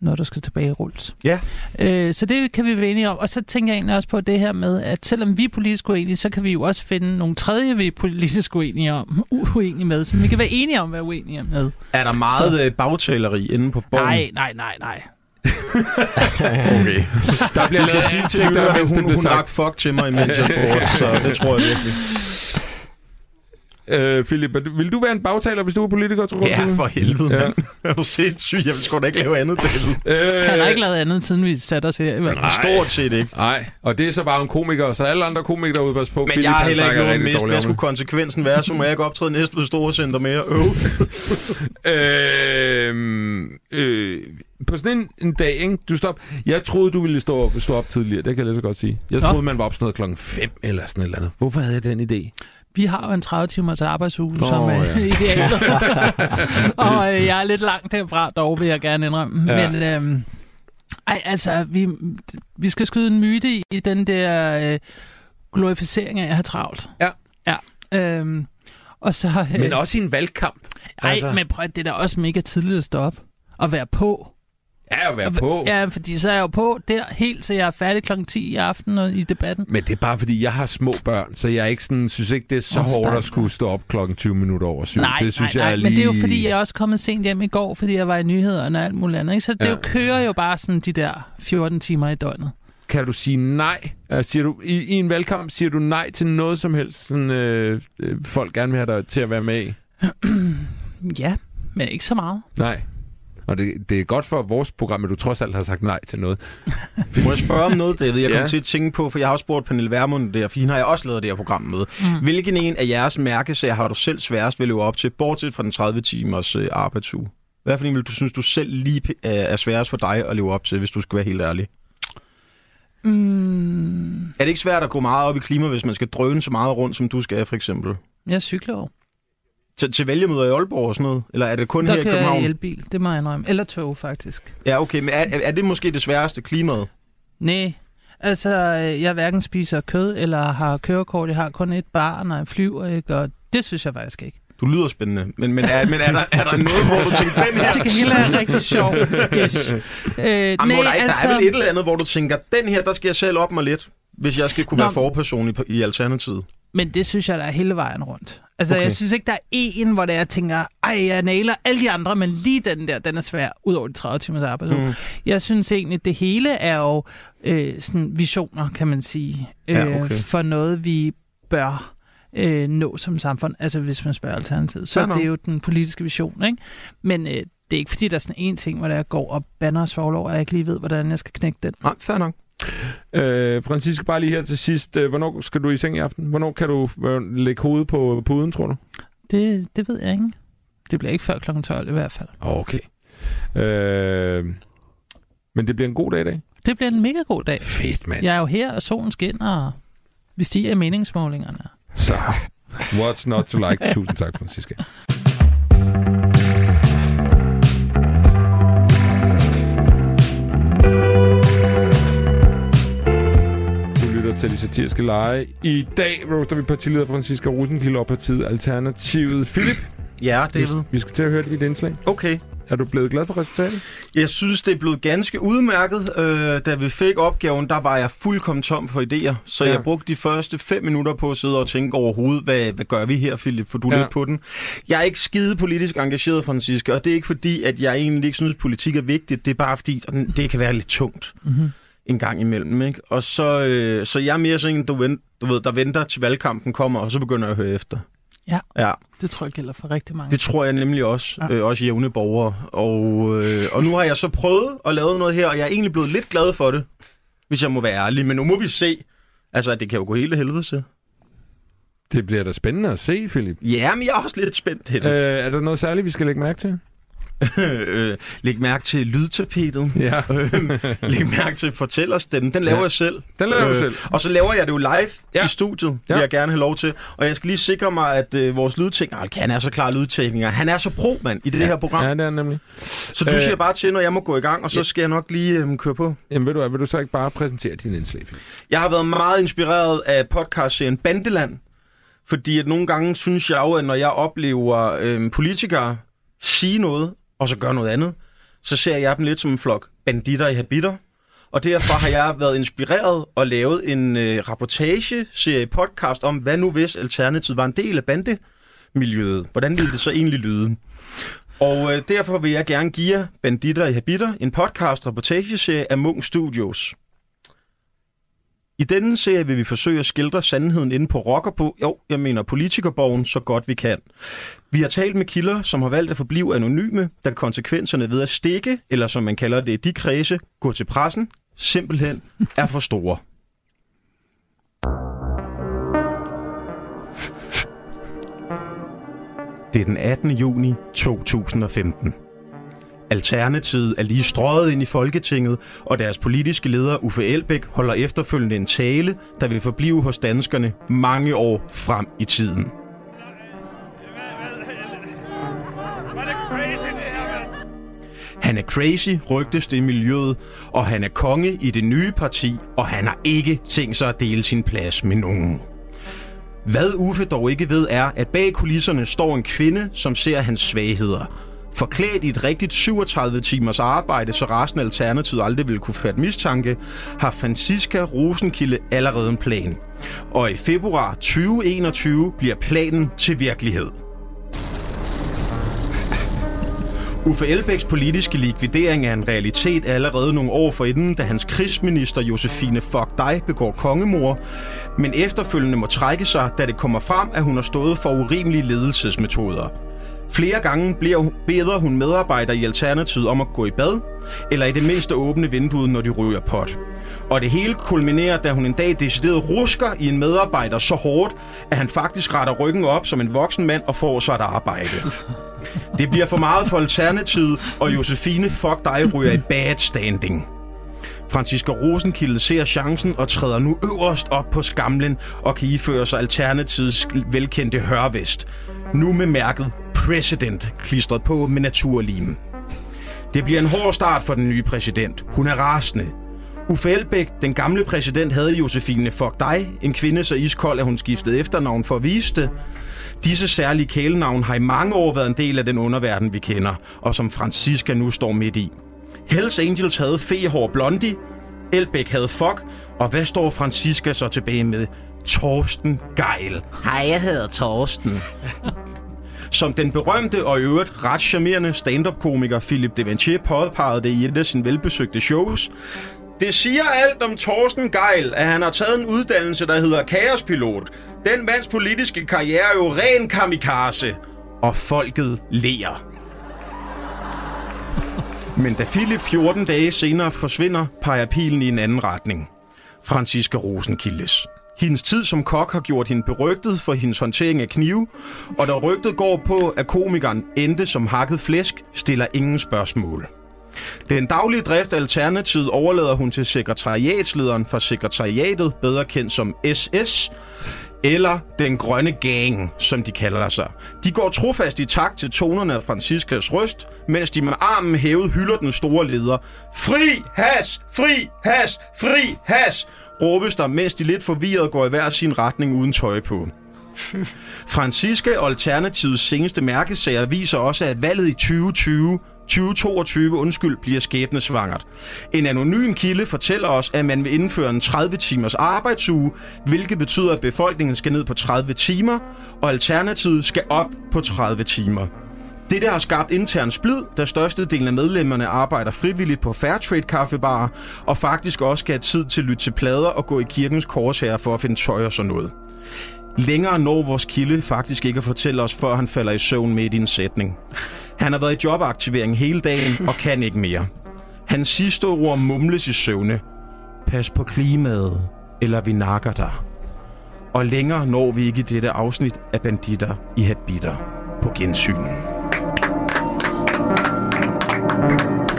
Speaker 4: noget, der skal tilbagerulles.
Speaker 5: Ja.
Speaker 4: Øh, så det kan vi være enige om. Og så tænker jeg egentlig også på det her med, at selvom vi er politisk uenige, så kan vi jo også finde nogle tredje, vi er politisk uenige om, uenige med, som vi kan være enige om at være uenige med.
Speaker 5: Er der meget så... bagtaleri inde på borgen?
Speaker 4: Nej, nej, nej, nej.
Speaker 5: <laughs> okay.
Speaker 1: Der bliver lavet
Speaker 5: sige til <laughs>
Speaker 1: ansigter,
Speaker 5: Lykke, at
Speaker 1: mens det
Speaker 5: hun,
Speaker 1: bliver
Speaker 5: hun
Speaker 1: sagt.
Speaker 5: rak fuck til mig, imens jeg spurgte, så det tror jeg virkelig.
Speaker 1: Øh, Philip, er du- vil du være en bagtaler, hvis du var politiker, tror du?
Speaker 5: Ja, for helvede,
Speaker 1: Ja.
Speaker 5: ja. mand. <laughs> Er du sindssyg? Jeg vil sgu da ikke lave andet, David.
Speaker 1: Øh,
Speaker 4: Han har ikke lavet andet, siden vi satte os her. i hvert fald.
Speaker 5: Stort set ikke.
Speaker 1: Nej, og det er så bare en komiker, så alle andre komikere derude, pas på.
Speaker 5: Men
Speaker 1: Philip,
Speaker 5: jeg har
Speaker 1: han
Speaker 5: heller ikke
Speaker 1: snakker
Speaker 5: noget
Speaker 1: rigtig
Speaker 5: mist.
Speaker 1: dårligt
Speaker 5: Hvad
Speaker 1: om
Speaker 5: skulle konsekvensen være? Så må jeg ikke optræde næste ved store center mere. <laughs> Øv.
Speaker 1: Øhm, øh, på sådan en, en dag, ikke? Du stop. Jeg troede, du ville stå op, stå op tidligere. Det kan jeg lige så godt sige. Jeg
Speaker 4: Nå.
Speaker 1: troede, man var op sådan noget klokken 5 eller sådan et eller andet. Hvorfor havde jeg den idé?
Speaker 4: Vi har jo en 30 timers arbejdsuge,
Speaker 1: Nå,
Speaker 4: Nå, som er
Speaker 1: ja. <laughs>
Speaker 4: <laughs> ja. idealet. og øh, jeg er lidt langt derfra, dog vil jeg gerne indrømme.
Speaker 1: Ja.
Speaker 4: Ja. Men øh, ej, altså, vi, vi skal skyde en myte i- i den der øh, glorificering af at have travlt.
Speaker 1: Ja.
Speaker 4: ja øh, og så... Øh,
Speaker 1: Men også i en valgkamp.
Speaker 4: ej,
Speaker 1: altså-
Speaker 4: altså. men prøv at- det er da også mega tidligt at stå op og være på.
Speaker 1: Ja, at være på.
Speaker 4: Ja, fordi så er jeg jo på der helt til jeg er færdig kl. 10 i aften og- i debatten.
Speaker 1: Men det er bare, fordi jeg har små børn, så jeg er ikke sådan, synes ikke, det er så
Speaker 4: Åh,
Speaker 1: hårdt
Speaker 4: stak.
Speaker 1: at skulle stå op klokken 20 minutter over syv.
Speaker 4: Nej,
Speaker 1: det synes
Speaker 4: nej, nej,
Speaker 1: jeg er
Speaker 4: men
Speaker 1: lige...
Speaker 4: det er jo fordi, jeg er også kommet sent hjem i går, fordi jeg var i nyhederne og alt muligt andet. Ikke? Så det
Speaker 1: Ja.
Speaker 4: jo kører jo bare sådan de der 14 timer i døgnet.
Speaker 1: Kan du sige nej? Øh, Siger du, i, I en valgkamp siger du nej til noget som helst, sådan, øh, øh, folk gerne vil have dig til at være med i?
Speaker 4: <clears throat> Ja, men ikke så meget.
Speaker 1: Nej. Og det, det er godt for vores program, at du trods alt har sagt nej til noget.
Speaker 5: Må jeg spørge om noget, David? Jeg kom
Speaker 1: Ja.
Speaker 5: ja. til at tænke på, for jeg har også spurgt Pernille Vermund der, for hende har jeg også lavet det her program med. Mm. Hvilken en af jeres mærkesager har du selv sværest ved at leve op til, bortset fra den 30 timers øh, arbejdsuge? Hvad for en vil du synes, du selv lige p- er er sværest for dig at leve op til, hvis du skal være helt ærlig?
Speaker 4: Mm,
Speaker 5: Er det ikke svært at gå meget op i klima, hvis man skal drøne så meget rundt, som du skal, for eksempel?
Speaker 4: jeg cykler jo.
Speaker 5: Til, til vælgemøder i Aalborg og sådan noget? Eller er det kun
Speaker 4: Der
Speaker 5: her i
Speaker 4: kører jeg i
Speaker 5: København?
Speaker 4: elbil, det må jeg indrømme. Eller tog, faktisk.
Speaker 5: Ja, okay, men er, er- er det måske det sværeste klimaet?
Speaker 4: Nej, altså øh, jeg hverken spiser kød eller har kørekort. Jeg har kun et barn og jeg flyver, ikke? og det synes jeg faktisk ikke.
Speaker 5: Du lyder spændende, men, men, er, men er, der, er der noget, hvor du tænker, den her...
Speaker 4: Til gengæld er jeg rigtig
Speaker 5: <laughs>
Speaker 4: sjov. Yes. Øh,
Speaker 5: Jamen, hvor der,
Speaker 4: nej,
Speaker 5: er, ikke-
Speaker 4: altså,
Speaker 5: der er vel et eller andet, hvor du tænker, den her, der skal jeg selv op mig lidt, hvis jeg skal kunne
Speaker 4: Nå,
Speaker 5: Nå. være
Speaker 4: men-
Speaker 5: forperson i, i Alternativet.
Speaker 4: Men det synes jeg, der er hele vejen rundt. Altså, okay.
Speaker 5: Okay.
Speaker 4: jeg synes ikke, der er en, hvor det er, jeg tænker, ej, jeg nailer alle de andre, men lige den der, den er svær, ud over de 30 timers arbejdsuge. Mm.
Speaker 5: Mm.
Speaker 4: Jeg synes egentlig, det hele er jo øh, sådan visioner, kan man sige, øh,
Speaker 5: Ja, okay.
Speaker 4: for noget, vi bør øh, nå som samfund. Altså, hvis man spørger alternativet, så
Speaker 5: Fair
Speaker 4: er
Speaker 5: nok.
Speaker 4: det jo den politiske vision, ikke? Men øh, det er ikke, fordi der er sådan en ting, hvor der jeg går og banner og svogler over, at jeg ikke lige ved, hvordan jeg skal knække den.
Speaker 5: Nej, fair nok.
Speaker 1: Øh, Francisca, bare lige her til sidst. Øh, hvornår skal du i seng i aften? Hvornår kan du øh, lægge hovedet på puden, tror du?
Speaker 4: Det, det ved jeg ikke. Det bliver ikke før kl. 12 i hvert fald.
Speaker 1: Okay. Øh, men det bliver en god dag i dag.
Speaker 4: Det bliver en mega god dag.
Speaker 1: Fedt, mand. Ja.
Speaker 4: Jeg er jo her, og solen skinner, og vi stiger i meningsmålingerne.
Speaker 1: Så, what's not to like? Tusind tak, Francisca. Du lytter til de satiriske lege. I dag roaster vi partileder Francisca Rosenkilde og partiet Alternativet. Philip,
Speaker 5: Ja,
Speaker 1: vi,
Speaker 5: David.
Speaker 1: vi skal til at høre dit indslag.
Speaker 5: Okay.
Speaker 1: Er du blevet glad for resultatet?
Speaker 5: Jeg synes, det er blevet ganske udmærket. Øh, da vi fik opgaven, der var jeg fuldkommen tom for idéer, så
Speaker 1: Ja.
Speaker 5: ja. jeg brugte de første fem minutter på at sidde og tænke overhovedet, hvad, hvad gør vi her, Philip, for du
Speaker 1: Ja.
Speaker 5: ja. lidt på den. Jeg er ikke skide politisk engageret, Francisca, og det er ikke fordi, at jeg egentlig ikke synes, politik er vigtigt, det er bare fordi, at det kan være lidt tungt.
Speaker 4: Mm-hmm.
Speaker 5: en gang imellem, ikke? Og så, øh, så jeg er mere sådan en, du, vent, du ved, der venter til valgkampen kommer, og så begynder jeg at høre efter.
Speaker 4: Ja.
Speaker 5: Ja,
Speaker 4: Det tror jeg gælder for rigtig mange.
Speaker 5: det tror jeg nemlig også.
Speaker 4: Ja.
Speaker 5: Ja. Øh, også jævne borgere. Og, øh, og nu har jeg så prøvet at lave noget her, og jeg er egentlig blevet lidt glad for det, hvis jeg må være ærlig. Men nu må vi se. Altså, det kan jo gå hele helvede til.
Speaker 1: Det bliver da spændende at se, Philip.
Speaker 5: Ja, men jeg er også lidt spændt hen.
Speaker 1: Øh, er der noget særligt, vi skal lægge mærke til?
Speaker 5: <laughs> Øh, Læg mærke til lydtapetet.
Speaker 1: Ja.
Speaker 5: Øh, <laughs> Læg mærke til fortællerstemmen. Den laver
Speaker 1: Ja.
Speaker 5: jeg selv.
Speaker 1: Den laver du selv.
Speaker 5: Og så laver jeg det jo live
Speaker 1: Ja.
Speaker 5: ja. i studiet,
Speaker 1: Ja.
Speaker 5: ja. vil jeg gerne have lov til. Og jeg skal lige sikre mig, at øh, vores lydtekniker... Hold kæft, Han er så klar lydtekniker. Han er så pro, mand, i det her program.
Speaker 1: Ja,
Speaker 5: Ja.
Speaker 1: det er den nemlig.
Speaker 5: Så du
Speaker 1: Øh.
Speaker 5: øh, siger bare til, når jeg må gå i gang, og så skal jeg nok lige øh, køre på.
Speaker 1: Jamen ved du hvad, vil du så ikke bare præsentere din indslag? Philip?
Speaker 5: Jeg har været meget inspireret af podcastserien Bandeland, fordi at nogle gange synes jeg jo, at når jeg oplever øhm, politikere sige noget, og så gøre noget andet, så ser jeg dem lidt som en flok banditter i habitter. Og derfor har jeg været inspireret og lavet en øh, rapportageserie podcast om, hvad nu hvis Alternativet var en del af bandemiljøet. Hvordan ville det så egentlig lyde? Og øh, derfor vil jeg gerne give jer Banditter i Habitter, en podcast rapportageserie af Munk Studios. I denne serie vil vi forsøge at skildre sandheden inde på rockerbo, jo, jeg mener politikerborgen, så godt vi kan. Vi har talt med kilder, som har valgt at forblive anonyme, da konsekvenserne ved at stikke, eller som man kalder det i de kredse, gå til pressen, simpelthen er for store. Det er den 18. juni 2015. Alternativet er lige strøget ind i Folketinget, og deres politiske leder Uffe Elbæk holder efterfølgende en tale, der vil forblive hos danskerne mange år frem i tiden. Han er crazy, rygtes det i miljøet, og han er konge i det nye parti, og han har ikke tænkt sig at dele sin plads med nogen. Hvad Uffe dog ikke ved er, at bag kulisserne står en kvinde, som ser hans svagheder. Forklædt i et rigtigt 37 timers arbejde, så resten af Alternativet aldrig ville kunne fatte mistanke, har Francisca Rosenkilde allerede en plan. Og i februar 2021 bliver planen til virkelighed. Uffe Elbæks politiske likvidering er en realitet allerede nogle år forinden, da hans krigsminister Josefine Fuck dig begår kongemor, men efterfølgende må trække sig, da det kommer frem, at hun har stået for urimelige ledelsesmetoder. Flere gange bliver hun- beder hun medarbejdere i Alternativet om at gå i bad, eller i det mindste åbne vinduet, når de ryger pot. Og det hele kulminerer, da hun en dag decideret rusker i en medarbejder så hårdt, at han faktisk retter ryggen op som en voksen mand og får sig et arbejde. Det bliver for meget for Alternativet, og Josefine Fuck dig ryger i bad standing. Franziska Rosenkilde ser chancen og træder nu øverst op på skamlen og kan iføre sig Alternativets velkendte hørvest. Nu med mærket President klistret på med naturlimen. Det bliver en hård start for den nye præsident. Hun er rasende. Uffe Elbæk, den gamle præsident, havde Josefine Fuck dig, en kvinde så iskold, at hun skiftede efternavn for at vise det. Disse særlige kælenavn har i mange år været en del af den underverden, vi kender, og som Francisca nu står midt i. Hells Angels havde fehår Blondie, Elbæk havde Fuck, og hvad står Francisca så tilbage med? Torsten Geil. Hej, jeg hedder Torsten. <laughs> Som den berømte og i øvrigt ret charmerende stand-up-komiker Philip Devanchier påpegede det i et af sine velbesøgte shows, det siger alt om Torsten Geil, at han har taget en uddannelse, der hedder kaospilot. Den mands politiske karriere er jo ren kamikaze. Og folket lærer. Men da Philip 14 dage senere forsvinder, peger pilen i en anden retning. Franziska Rosenkildes. Hendes tid som kok har gjort hende berygtet for hendes håndtering af knive, og da rygtet går på, at komikeren endte som hakket flæsk, stiller ingen spørgsmål. Den daglige drift af Alternativet overlader hun til sekretariatslederen fra sekretariatet, bedre kendt som SS, eller Den Grønne Gang, som de kalder sig. De går trofast i takt til tonerne af Franciskas røst, mens de med armen hævet hylder den store leder. Fri has! Fri has! Fri has! råbes der, mens de lidt forvirret går i hver sin retning uden tøj på. Francisca og Alternativets seneste mærkesager viser også, at valget i 2020 2022, undskyld, bliver skæbnesvangert. En anonym kilde fortæller os, at man vil indføre en 30-timers arbejdsuge, hvilket betyder, at befolkningen skal ned på 30 timer, og Alternativet skal op på 30 timer. Dette har skabt intern splid, da størstedelen af medlemmerne arbejder frivilligt på Fairtrade-kaffebarer, og faktisk også skal have tid til at lytte til plader og gå i kirkens korsherre for at finde tøj og sådan noget. Længere når vores kilde faktisk ikke at fortælle os, før han falder i søvn midt i en sætning. Han har været i jobaktivering hele dagen og kan ikke mere. Hans sidste ord mumles i søvne. Pas på klimaet, eller vi nakker dig. Og længere når vi ikke i dette afsnit af Banditter i Habitter. På gensyn.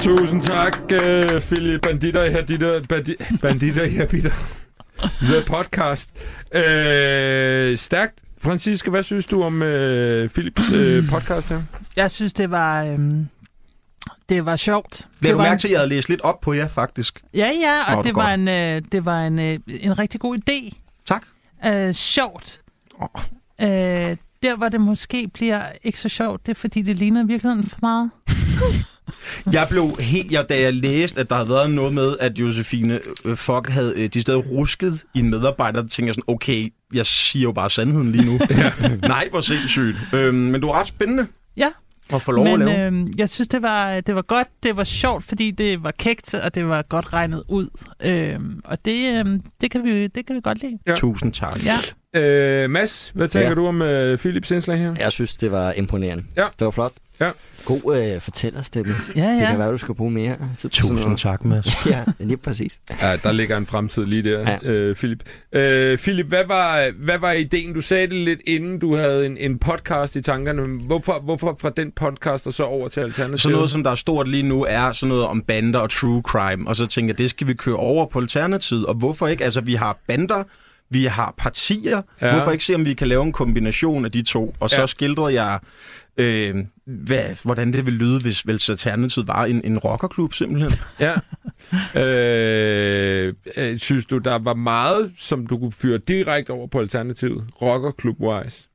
Speaker 1: Tusind tak, uh, Philip Banditter i Herditter. Bandi Banditter i Herbitter. The podcast. Uh, stærkt. Franciske, hvad synes du om uh, Philips uh, podcast her?
Speaker 4: Jeg synes, det var... Øhm, det var sjovt.
Speaker 5: Lad du
Speaker 4: var
Speaker 5: mærke til, at jeg havde læst lidt op på jer, faktisk.
Speaker 4: Ja, ja, og
Speaker 5: Nå,
Speaker 4: det,
Speaker 5: det er
Speaker 4: var
Speaker 5: godt.
Speaker 4: en, øh, det var en, øh, en rigtig god idé.
Speaker 5: Tak.
Speaker 4: Øh, sjovt. Øh, der, hvor det måske bliver ikke så sjovt, det er, fordi det ligner virkeligheden for meget.
Speaker 5: Jeg blev helt, jeg, da jeg læste, at der havde været noget med, at Josefine øh, Fock havde øh, de steder rusket i en medarbejder, der tænker jeg sådan, okay, jeg siger jo bare sandheden lige nu. Nej, hvor sindssygt. Øhm, men du er ret spændende
Speaker 4: Ja,
Speaker 5: at få lov at lave.
Speaker 4: men øh, jeg synes, det var, det var godt, det var sjovt, fordi det var kægt, og det var godt regnet ud. Øh, og det, øh, det, kan vi, det kan vi godt lide.
Speaker 1: ja.
Speaker 5: Tusind tak.
Speaker 4: Ja.
Speaker 1: Uh, Mads, hvad tænker
Speaker 3: Ja.
Speaker 1: du om uh, Philips indslag her?
Speaker 3: Jeg synes, det var imponerende.
Speaker 1: Ja.
Speaker 3: Det var flot.
Speaker 1: Ja.
Speaker 3: God øh, fortællerstemme.
Speaker 4: Ja,
Speaker 3: Det kan
Speaker 4: ja.
Speaker 3: være, du skal bruge mere. Så,
Speaker 5: Tusind tak, Mads.
Speaker 3: <laughs> Ja, lige præcis.
Speaker 1: Ja, der ligger en fremtid lige der, ja. øh, Philip. Øh, Philip, hvad var, hvad var ideen? Du sagde det lidt inden, du havde en, en podcast i tankerne. Hvorfor, hvorfor fra den podcast og så over til Alternativet?
Speaker 5: Sådan noget, som der er stort lige nu, er sådan noget om bander og true crime. Og så tænker jeg, det skal vi køre over på Alternativet. Og hvorfor ikke? Altså, vi har bander, vi har partier.
Speaker 1: Ja.
Speaker 5: Ja. Hvorfor ikke se, om vi kan lave en kombination af de to? Og så
Speaker 1: Ja.
Speaker 5: ja. skildrede jeg, øh, hvad, hvordan det ville lyde, hvis, hvis Alternativet var en, en rockerklub, simpelthen.
Speaker 1: Ja. Øh, øh, synes du, der var meget, som du kunne fyre direkte over på Alternativet? Rocker Club-wise?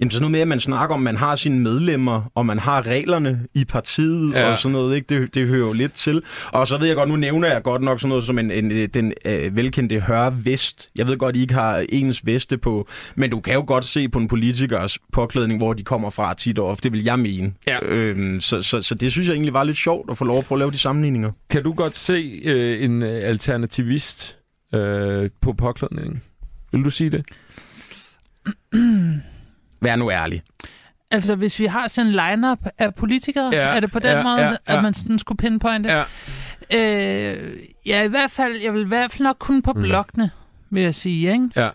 Speaker 5: Jamen, sådan noget med, at man snakker om, at man har sine medlemmer, og man har reglerne i partiet
Speaker 1: Ja.
Speaker 5: ja. og sådan noget, ikke? Det, det hører jo lidt til. Og så ved jeg godt, nu nævner jeg godt nok sådan noget som en, en, øh, den øh, velkendte høre vest. Jeg ved godt, I ikke har ens veste på, men du kan jo godt se på en politikers påklædning, hvor de kommer fra tit og ofte, vil jeg mene.
Speaker 1: Ja.
Speaker 5: Øhm, så, så, så det synes jeg egentlig var lidt sjovt at få lov at prøve at lave de sammenligninger.
Speaker 1: Kan du godt se øh, en øh, alternativist øh, på påklædningen? Vil du sige det?
Speaker 5: Vær nu ærlig.
Speaker 4: Altså, hvis vi har sådan en lineup af politikere,
Speaker 1: Ja,
Speaker 4: ja, er det på den
Speaker 1: ja,
Speaker 4: ja, måde,
Speaker 1: ja,
Speaker 4: ja,
Speaker 1: ja.
Speaker 4: at man sådan skulle pinpointe?
Speaker 1: Ja.
Speaker 4: Øh, ja, i hvert fald, jeg vil i hvert fald nok kun på
Speaker 5: Mm.
Speaker 4: blokkene, vil jeg sige, ikke?
Speaker 1: Ja.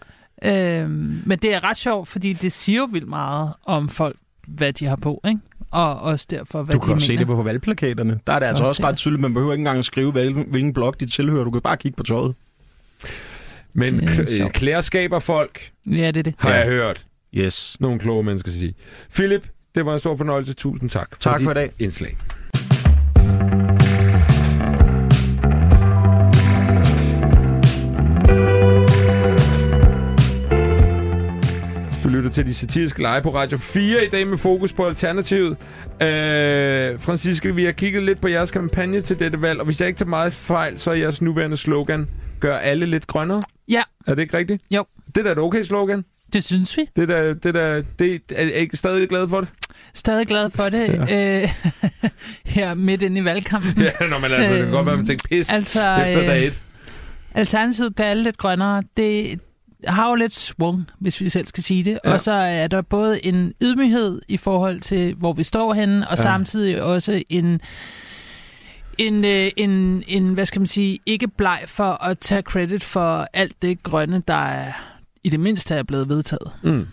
Speaker 4: Øh, men det er ret sjovt, fordi det siger jo vildt meget om folk, hvad de har på, ikke? Og også derfor, hvad
Speaker 5: Du
Speaker 4: de
Speaker 5: kan
Speaker 4: mener.
Speaker 5: også se det på valgplakaterne. Der er det altså
Speaker 4: Også
Speaker 5: også
Speaker 4: se
Speaker 5: ret tydeligt, man behøver ikke engang at skrive, hvilken hvilken blok de tilhører. Du kan bare kigge på tøjet.
Speaker 1: Men
Speaker 4: Det er
Speaker 1: kl- øh,
Speaker 4: sjovt.
Speaker 1: klæder skaber folk,
Speaker 4: Ja, det er det.
Speaker 1: har
Speaker 5: Ja.
Speaker 1: jeg hørt.
Speaker 5: Yes.
Speaker 1: nogle kloge mennesker skal sige. Philip, det var en stor fornøjelse. Tusind tak for,
Speaker 5: Tak for
Speaker 1: dit
Speaker 5: i dag.
Speaker 1: indslag. Du lytter til de satiriske lege på Radio 4 i dag med fokus på Alternativet. Øh, Franciske, vi har kigget lidt på jeres kampagne til dette valg, og hvis jeg ikke tager meget fejl, så er jeres nuværende slogan, gør alle lidt grønnere.
Speaker 4: Ja.
Speaker 1: Er det ikke rigtigt?
Speaker 4: Jo.
Speaker 1: Det er da et okay slogan.
Speaker 4: Det synes vi.
Speaker 1: Det der, det der, det er jeg ikke stadig glad
Speaker 4: <laughs>
Speaker 1: for det.
Speaker 4: Stadig glad for det øh, <laughs> her midt inde i valgkampen.
Speaker 1: Ja, når man
Speaker 4: altså, det kan godt være, man
Speaker 1: tænker pis
Speaker 4: Altså, øh,
Speaker 1: et.
Speaker 4: Alternativet gør alle lidt grønnere. Det har jo lidt svung, hvis vi selv skal sige det.
Speaker 1: Ja.
Speaker 4: Ja. Og så er der både en ydmyghed i forhold til, hvor vi står henne, og
Speaker 1: Ja.
Speaker 4: ja. samtidig også en, en, øh, en, en, hvad skal man sige, ikke bleg for at tage credit for alt det grønne, der er i det mindste er blevet vedtaget.
Speaker 1: Mm.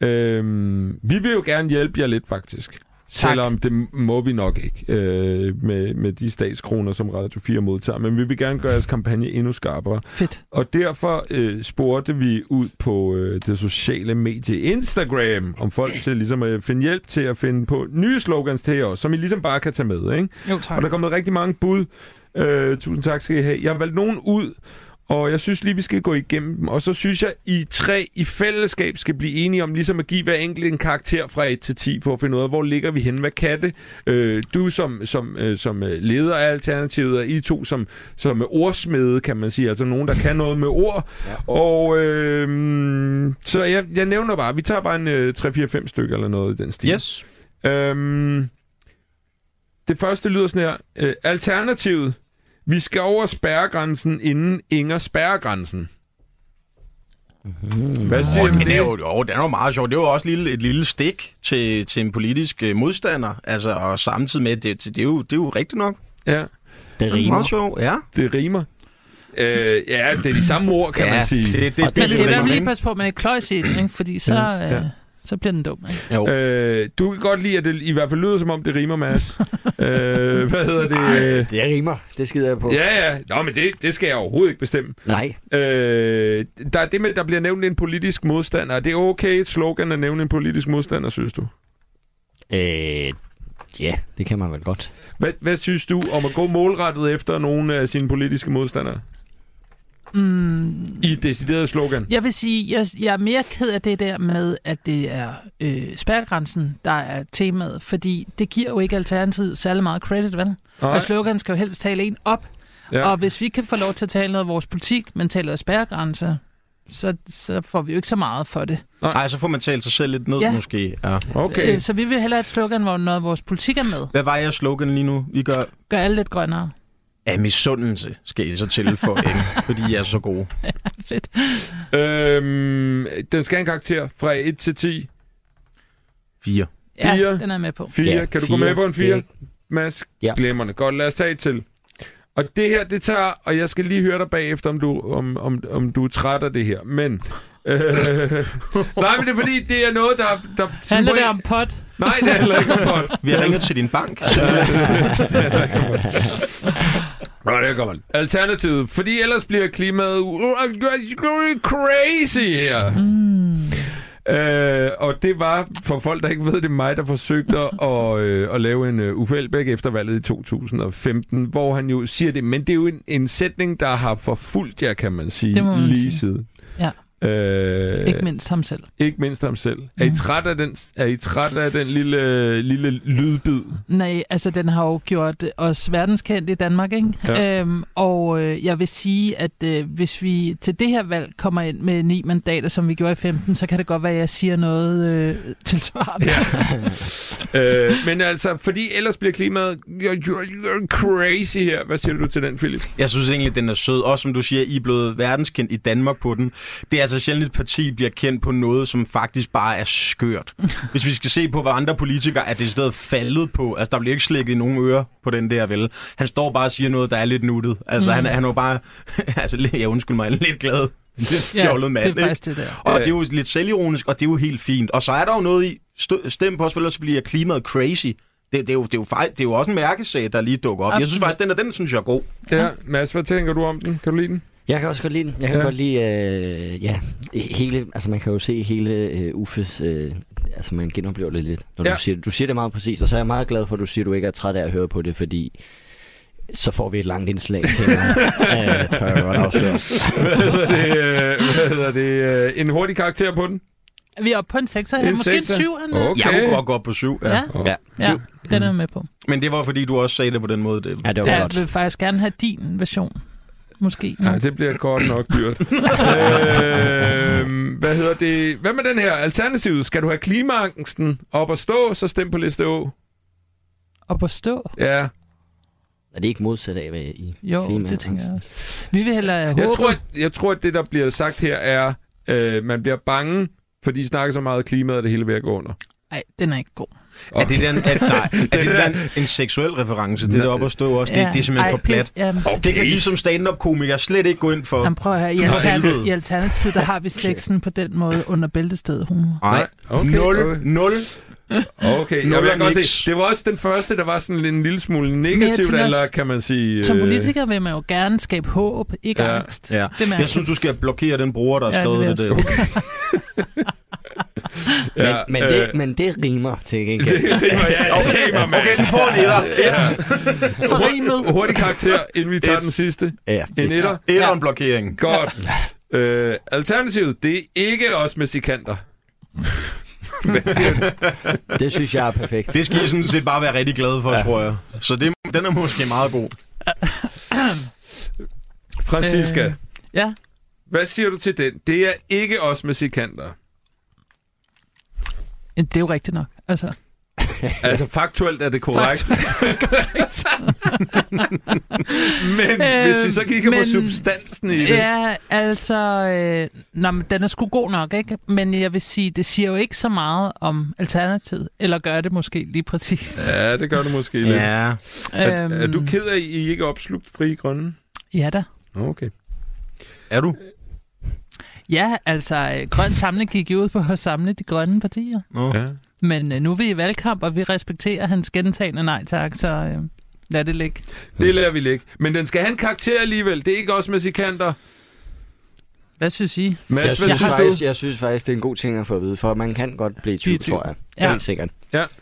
Speaker 1: Øhm, vi vil jo gerne hjælpe jer lidt, faktisk. Tak. Selvom det må vi nok ikke øh, med, med de statskroner, som Radio 4 modtager. Men vi vil gerne gøre jeres kampagne endnu skarpere.
Speaker 4: Fedt.
Speaker 1: Og derfor øh, spurgte vi ud på øh, det sociale medie Instagram, om folk til ligesom at finde hjælp til at finde på nye slogans til jer også, som I ligesom bare kan tage med, ikke?
Speaker 4: Jo, tak.
Speaker 1: Og der er kommet rigtig mange bud. Øh, tusind tak skal I have. Jeg har valgt nogen ud, og jeg synes lige, vi skal gå igennem dem. Og så synes jeg, I tre i fællesskab skal blive enige om ligesom at give hver enkelt en karakter fra 1 til 10, for at finde ud af, hvor ligger vi henne, hvad kan det? Øh, du som, som, øh, som øh, leder af Alternativet, og I to som, som øh, ordsmede, kan man sige. Altså nogen, der kan noget med ord. Ja. Og øh, så jeg, jeg nævner bare, vi tager bare en øh, 3-4-5 stykker eller noget i den stil.
Speaker 5: Yes.
Speaker 1: Øhm, det første lyder sådan her. Øh, alternativet. Vi skal over spærregrænsen, inden Inger spærregrænsen. Hvad siger
Speaker 5: Åh,
Speaker 1: oh,
Speaker 5: den,
Speaker 1: det?
Speaker 5: er jo, jo, den er jo meget sjov. Det var også lille, et lille stik til, til en politisk øh, modstander. Altså, og samtidig med, det, det, det, er, jo, det er jo rigtigt nok.
Speaker 1: Ja,
Speaker 3: Det
Speaker 5: Det er
Speaker 3: rimer.
Speaker 5: meget sjov, ja.
Speaker 1: det rimer. Øh, ja, det er de samme ord, kan
Speaker 5: ja,
Speaker 1: man sige.
Speaker 5: Det, det, det,
Speaker 3: Og
Speaker 5: det,
Speaker 4: Man
Speaker 5: det,
Speaker 4: skal i hvert fald lige
Speaker 5: det,
Speaker 4: passe på, at man ikke kløjs i den, ikke? fordi så...
Speaker 1: Ja,
Speaker 4: Ja,
Speaker 1: ja.
Speaker 4: ja. så bliver den dum. Ikke?
Speaker 3: Jo.
Speaker 1: Øh, du kan godt lide, at det i hvert fald lyder, som om det rimer,
Speaker 5: <laughs>
Speaker 1: Mads. øh, hvad hedder det?
Speaker 3: Det rimer. Det skider jeg på.
Speaker 1: Ja, ja. Nå, men det, det skal jeg overhovedet ikke bestemme.
Speaker 3: Nej.
Speaker 1: Øh, der er det med, at der bliver nævnt en politisk modstander. Er det okay et slogan at nævne en politisk modstander, synes du?
Speaker 3: Øh, ja, det kan man vel godt.
Speaker 1: Hvad, hvad synes du om at gå målrettet efter nogle af sine politiske modstandere?
Speaker 4: Mm,
Speaker 1: I et decideret slogan?
Speaker 4: jeg vil sige, jeg, jeg er mere ked af det der med, at det er øh, spærregrænsen, der er temaet, fordi det giver jo ikke Alternativet særlig meget credit, vel?
Speaker 1: Nej.
Speaker 4: Og slogan skal jo helst tale en op. Ja. Og hvis vi kan få lov til at tale noget af vores politik, men taler spærregrænser, så, så får vi jo ikke så meget for det.
Speaker 5: Nej, så får man talt sig selv lidt ned,
Speaker 4: Ja.
Speaker 5: ja. måske. Ja.
Speaker 1: Okay.
Speaker 4: Øh, Så vi vil hellere have et slogan, hvor noget af vores politik er med.
Speaker 5: Hvad var jeres slogan lige nu? Vi gør
Speaker 4: Gør alle lidt grønnere.
Speaker 5: af misundelse, skal I så <laughs> tilføje, fordi I er så gode.
Speaker 4: Fedt.
Speaker 1: Øhm, den skal have en karakter fra 1 til 10.
Speaker 5: Fire.
Speaker 4: Ja,
Speaker 1: Fire.
Speaker 4: den er jeg med på.
Speaker 1: 4. Ja,
Speaker 3: Ja,
Speaker 1: kan du gå
Speaker 3: fire.
Speaker 1: med
Speaker 3: Øh,
Speaker 1: på en 4,
Speaker 3: Ja.
Speaker 1: Mads?
Speaker 3: Ja.
Speaker 1: Glemmerne. Godt, lad os tage et til. Og det her, det tager... Og jeg skal lige høre dig bagefter, om du, om, om, om du er træt af det her. Men...
Speaker 4: <laughs>
Speaker 1: Øh, nej, men det er fordi, det er noget, der... der
Speaker 4: Handler det om pot?
Speaker 1: Nej, det handler ikke om pot.
Speaker 5: Vi har ringet til din <laughs> bank.
Speaker 1: Nej, det gør man. Alternativet. Fordi ellers bliver klimaet crazy her.
Speaker 4: Mm.
Speaker 1: Øh, og det var, for folk der ikke ved det, mig, der
Speaker 4: <laughs>
Speaker 1: forsøgte at, øh, at lave en øh, Uffe Elbæk efter valget i 2015, hvor han jo siger det, men det er jo en, en sætning, der har forfulgt jer, kan man sige,
Speaker 4: Det må man
Speaker 1: lige
Speaker 4: sige.
Speaker 1: siden.
Speaker 4: Ja.
Speaker 1: Øh,
Speaker 4: Ikke mindst ham selv.
Speaker 1: ikke mindst ham selv. Mm. Er, I træt af den, er I træt af den lille, lille lydbid?
Speaker 4: Nej, altså den har jo gjort os verdenskendt i Danmark, ikke?
Speaker 1: Ja.
Speaker 4: Øhm, og øh, jeg vil sige, at øh, hvis vi til det her valg kommer ind med ni mandater, som vi gjorde i 15, så kan det godt være, at jeg siger noget øh, tilsvarende.
Speaker 1: Ja. <laughs> øh, men altså, fordi ellers bliver klimaet you're, you're, you're crazy her. Hvad siger du til den, Philip?
Speaker 5: Jeg synes egentlig, den er sød. Også som du siger, I er blevet verdenskendt i Danmark på den. Det er altså sjældent, et parti bliver kendt på noget, som faktisk bare er
Speaker 4: <laughs>
Speaker 5: skørt. Hvis vi skal se på, hvad andre politikere er det stedet faldet på. Altså, der bliver ikke slikket nogen ører på den der, vel? Han står bare og siger noget, der er lidt nuttet. Altså, mm. han, er- han er jo bare... <laughs> altså, lidt- jeg undskylder mig, en lidt glad, <laughs> lidt fjollet mand.
Speaker 4: det er
Speaker 5: ikke?
Speaker 4: faktisk det der.
Speaker 5: Og det er jo lidt selvironisk, og det er jo helt fint. Og så er der jo noget i, stø- stem på os, for ellers bliver klimaet crazy. Det, det, er jo, det, er jo, fej- det er jo også en mærkesag, der lige dukker op. Jeg synes
Speaker 4: Absolut.
Speaker 5: faktisk, den der, den synes jeg er god.
Speaker 1: Ja, Mads, hvad tænker du om den? Kan du lide den?
Speaker 3: Jeg kan også godt lide den. Jeg
Speaker 1: Ja.
Speaker 3: kan ja. godt lide, øh, ja, hele, altså man kan jo se hele øh, Uffes, øh, altså man genoplever det lidt, når ja.
Speaker 1: Ja.
Speaker 3: du siger det. Du siger det meget præcist, og så er jeg meget glad for, at du siger, at du ikke er træt af at høre på det, fordi så får vi et langt indslag
Speaker 1: <laughs>
Speaker 3: til mig. ja, tør jeg godt afsløre.
Speaker 1: Hvad hedder det? øh, Hvad hedder det? øh, En hurtig karakter på den?
Speaker 4: Vi er oppe på en sekser
Speaker 1: En
Speaker 4: her. Måske en
Speaker 1: sekser?
Speaker 4: syv, Anna.
Speaker 1: Okay.
Speaker 5: Jeg kunne godt gå op på syv. Ja.
Speaker 4: Ja,
Speaker 3: Ja,
Speaker 4: ja, den er jeg med på.
Speaker 5: Men det var, fordi du også sagde det på den måde. Det.
Speaker 3: ja det var
Speaker 4: Jeg
Speaker 3: ja, godt.
Speaker 4: vil faktisk gerne have din version. Måske. <laughs>
Speaker 1: Ja, det bliver godt nok dyrt. øh, hvad hedder det? Hvad med den her? Alternativet. Skal du have klimaangsten op at stå, så stem på liste Å.
Speaker 4: Og på stå.
Speaker 1: Ja.
Speaker 3: Er det ikke modsat af, hvad I...
Speaker 4: Jo,
Speaker 3: Klima-
Speaker 4: det tænker jeg også. Vi vil hellere håbe...
Speaker 1: Jeg tror, at, jeg tror, at det, der bliver sagt her, er, øh, man bliver bange, fordi I snakker så meget om klimaet, at det hele vil gå under.
Speaker 4: Ej, den er ikke god.
Speaker 5: Er det den, at, nej, er det den, en seksuel reference? Det der op at stå også. Det, det er simpelthen
Speaker 4: Ej,
Speaker 5: for plat.
Speaker 4: Det, jamen,
Speaker 5: Det kan vi som stand-up-komiker slet ikke gå ind for.
Speaker 4: Jamen prøv at høre, i,
Speaker 5: For
Speaker 4: altern-
Speaker 5: helvede.
Speaker 4: i Alternativet, der
Speaker 5: <laughs>
Speaker 4: har vi slet ikke sådan på den måde under bæltestedet humor.
Speaker 5: Nej.
Speaker 1: Okay,
Speaker 5: Nul,
Speaker 1: okay.
Speaker 5: nul.
Speaker 1: Okay, jeg
Speaker 5: Nul
Speaker 1: vil
Speaker 5: og
Speaker 1: godt
Speaker 5: niks.
Speaker 1: se. Det var også den første, der var sådan en lille smule
Speaker 4: jeg
Speaker 1: negativt,
Speaker 4: tænker
Speaker 1: eller
Speaker 4: også-
Speaker 1: kan man sige...
Speaker 4: Som
Speaker 1: øh,
Speaker 4: politiker vil man jo gerne skabe håb, ikke
Speaker 1: Ja,
Speaker 4: ja, angst.
Speaker 5: Ja.
Speaker 4: Det mærker
Speaker 5: Jeg synes, du skal blokere den bruger, der har
Speaker 4: Ja, det
Speaker 5: skrevet
Speaker 4: vil
Speaker 5: det.
Speaker 4: jeg
Speaker 5: der.
Speaker 3: Men,
Speaker 1: ja,
Speaker 3: ja, men,
Speaker 1: øh,
Speaker 3: det, men det rimer til
Speaker 1: <laughs>
Speaker 3: gengæld.
Speaker 1: Det rimer, ja, det rimer, mand.
Speaker 5: Okay, du får en etter.
Speaker 1: Hurtig, hurtig karakter,
Speaker 5: <laughs>
Speaker 1: inden vi tager
Speaker 5: Et.
Speaker 1: den sidste.
Speaker 3: Ja,
Speaker 1: En etter.
Speaker 5: Etter en blokering.
Speaker 1: Godt. Øh, alternativet, det er ikke os med
Speaker 5: <laughs>
Speaker 1: sikanter. Hvad siger du?
Speaker 3: det synes jeg er perfekt.
Speaker 5: Det skal I sådan set bare være rigtig glade for, ja. tror jeg. Så det, den er måske meget god.
Speaker 1: Francisca,
Speaker 4: Øh. Ja,
Speaker 1: hvad siger du til den? Det er ikke os med sikanter.
Speaker 4: det er jo rigtigt nok. Altså,
Speaker 1: Altså faktuelt er det korrekt.
Speaker 5: <laughs>
Speaker 4: <laughs>
Speaker 1: men
Speaker 5: Øh,
Speaker 1: hvis vi så kigger på
Speaker 4: men-
Speaker 1: substansen i det.
Speaker 4: ja, altså... Øh, nå, men den er sgu god nok, ikke? Men jeg vil sige, det siger jo ikke så meget om Alternativet. Eller gør det måske lige præcis. Øhm,
Speaker 1: Ja, det gør du måske lidt. Er, er
Speaker 5: øhm.
Speaker 1: du ked af, at I ikke er opslugt frie grønne?
Speaker 4: Ja da.
Speaker 1: Okay.
Speaker 5: Er du?
Speaker 4: Ja, altså, øh, Grøn Samling gik jo ud på at samle de grønne partier.
Speaker 5: Nå.
Speaker 1: Ja.
Speaker 4: Men øh, nu er vi i valgkamp, og vi respekterer hans gentagende nej tak, så øh, lad det ligge.
Speaker 1: Det lader vi ligge. Men den skal have en karakter alligevel. Det er ikke også med sikanter.
Speaker 4: Hvad synes I?
Speaker 1: Mads,
Speaker 3: Jeg
Speaker 1: hvad
Speaker 3: synes,
Speaker 1: synes
Speaker 3: faktisk,
Speaker 1: du?
Speaker 3: jeg synes faktisk, det er en god ting at få at vide, for man kan godt blive i
Speaker 4: Blive
Speaker 3: tvivl,
Speaker 4: i tvivl.
Speaker 3: tror jeg.
Speaker 4: Ja.
Speaker 3: Ja. Helt sikkert.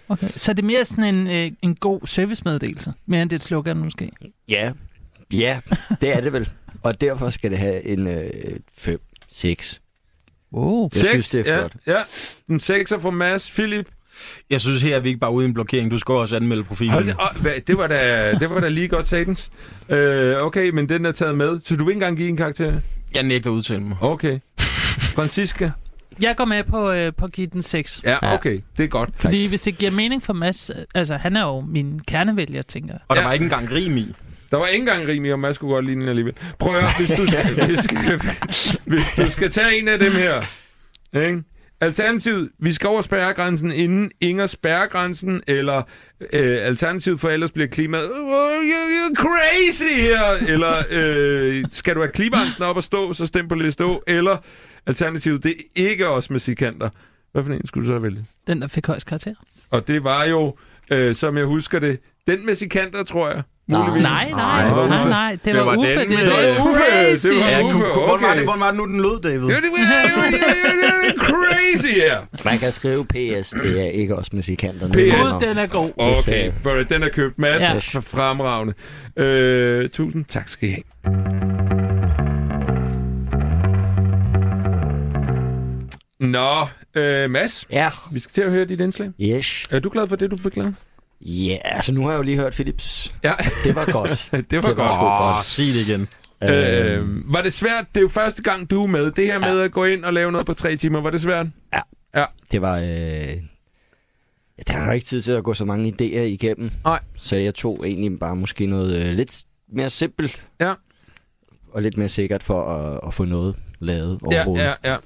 Speaker 4: Okay. Så det er mere sådan en, øh, en god servicemeddelelse, mere end det er et slogan måske.
Speaker 3: Ja. Ja, det er det vel. Og derfor skal det have en øh, 5, 6.
Speaker 4: Wow.
Speaker 3: Jeg synes, det er
Speaker 1: ja,
Speaker 3: flot.
Speaker 1: ja. Den sekser for Mads. Philip.
Speaker 5: Jeg synes her er vi ikke bare ude i en blokering. Du skal også anmelde profilen.
Speaker 1: Hold det, oh, hvad, det, var da, det var da lige godt satans. Øh, okay, men den er taget med. Så du vil ikke engang give en karakter?
Speaker 5: Jeg nægter at udtale mig.
Speaker 1: Okay. Francisca?
Speaker 4: Jeg går med på, øh, på at give den 6.
Speaker 1: Ja, okay. Det er godt.
Speaker 4: Fordi hvis det giver mening for Mads, øh, altså han er jo min kernevælger, tænker jeg.
Speaker 5: Og der
Speaker 1: Ja.
Speaker 5: var ikke engang rim i.
Speaker 1: Der var ikke engang rim i, og Mads kunne godt ligne den alligevel. Prøv at høre, hvis du, hvis, skal- hvis du skal tage en af dem her. Ikke? Alternativet, vi skal over spærregrænsen, inden Inger spærrer grænsen, eller øh, alternativet for ellers bliver klimaet "Oh, you, you crazy her, eller øh, skal du have klimaangsten op og stå, så stem på liste Å, eller alternativet, det er ikke os med sikanter. Hvad for en skulle du så vælge?
Speaker 4: Den, der fik højst karakter.
Speaker 1: Og det var jo, øh, som jeg husker det, den med sikanter, tror jeg.
Speaker 4: Nej,
Speaker 1: Muligvis.
Speaker 4: nej, nej,
Speaker 1: det var
Speaker 4: nej,
Speaker 1: Uffe.
Speaker 4: nej. Det, var,
Speaker 5: var
Speaker 4: Uffe,
Speaker 5: den
Speaker 4: det
Speaker 5: med-
Speaker 4: var
Speaker 5: Det
Speaker 1: var Uffe,
Speaker 4: crazy.
Speaker 1: det var
Speaker 5: Ja,
Speaker 1: Uffe,
Speaker 5: kunne, kunne, hvordan, var
Speaker 1: okay.
Speaker 5: det, hvordan var det nu, den lød, David?
Speaker 1: Det er det, det er- det er- det er- det er crazy <laughs> her.
Speaker 3: Man kan skrive PS, det er ikke også musikanterne.
Speaker 1: PS.
Speaker 4: Gud, den er god.
Speaker 1: Okay, but den er købt. Mads,
Speaker 4: Ja.
Speaker 1: ja. fremragende. Øh, tusind tak skal I have. Nå, øh, Mads,
Speaker 3: Ja.
Speaker 1: vi skal til at høre dit indslag.
Speaker 3: Yes.
Speaker 1: Er du glad for det, du fik lavet?
Speaker 3: Ja, altså nu har jeg jo lige hørt Philips.
Speaker 1: Ja, <laughs>
Speaker 3: Det var godt.
Speaker 1: det var
Speaker 3: Det var
Speaker 1: godt.
Speaker 5: Åh, sig det igen.
Speaker 3: <laughs> øh,
Speaker 1: Øh, var det svært? Det er jo første gang, du er med. Det her med at gå ind og lave noget på tre timer, var det svært?
Speaker 3: det var... Øh, ja, der var ikke tid til at gå så mange idéer igennem.
Speaker 1: Nej.
Speaker 3: Så jeg tog egentlig bare måske noget øh, lidt mere simpelt.
Speaker 1: Ja.
Speaker 3: Og lidt mere sikkert for at, at få noget lavet
Speaker 1: Ja,
Speaker 3: overhovedet.
Speaker 1: ja, ja.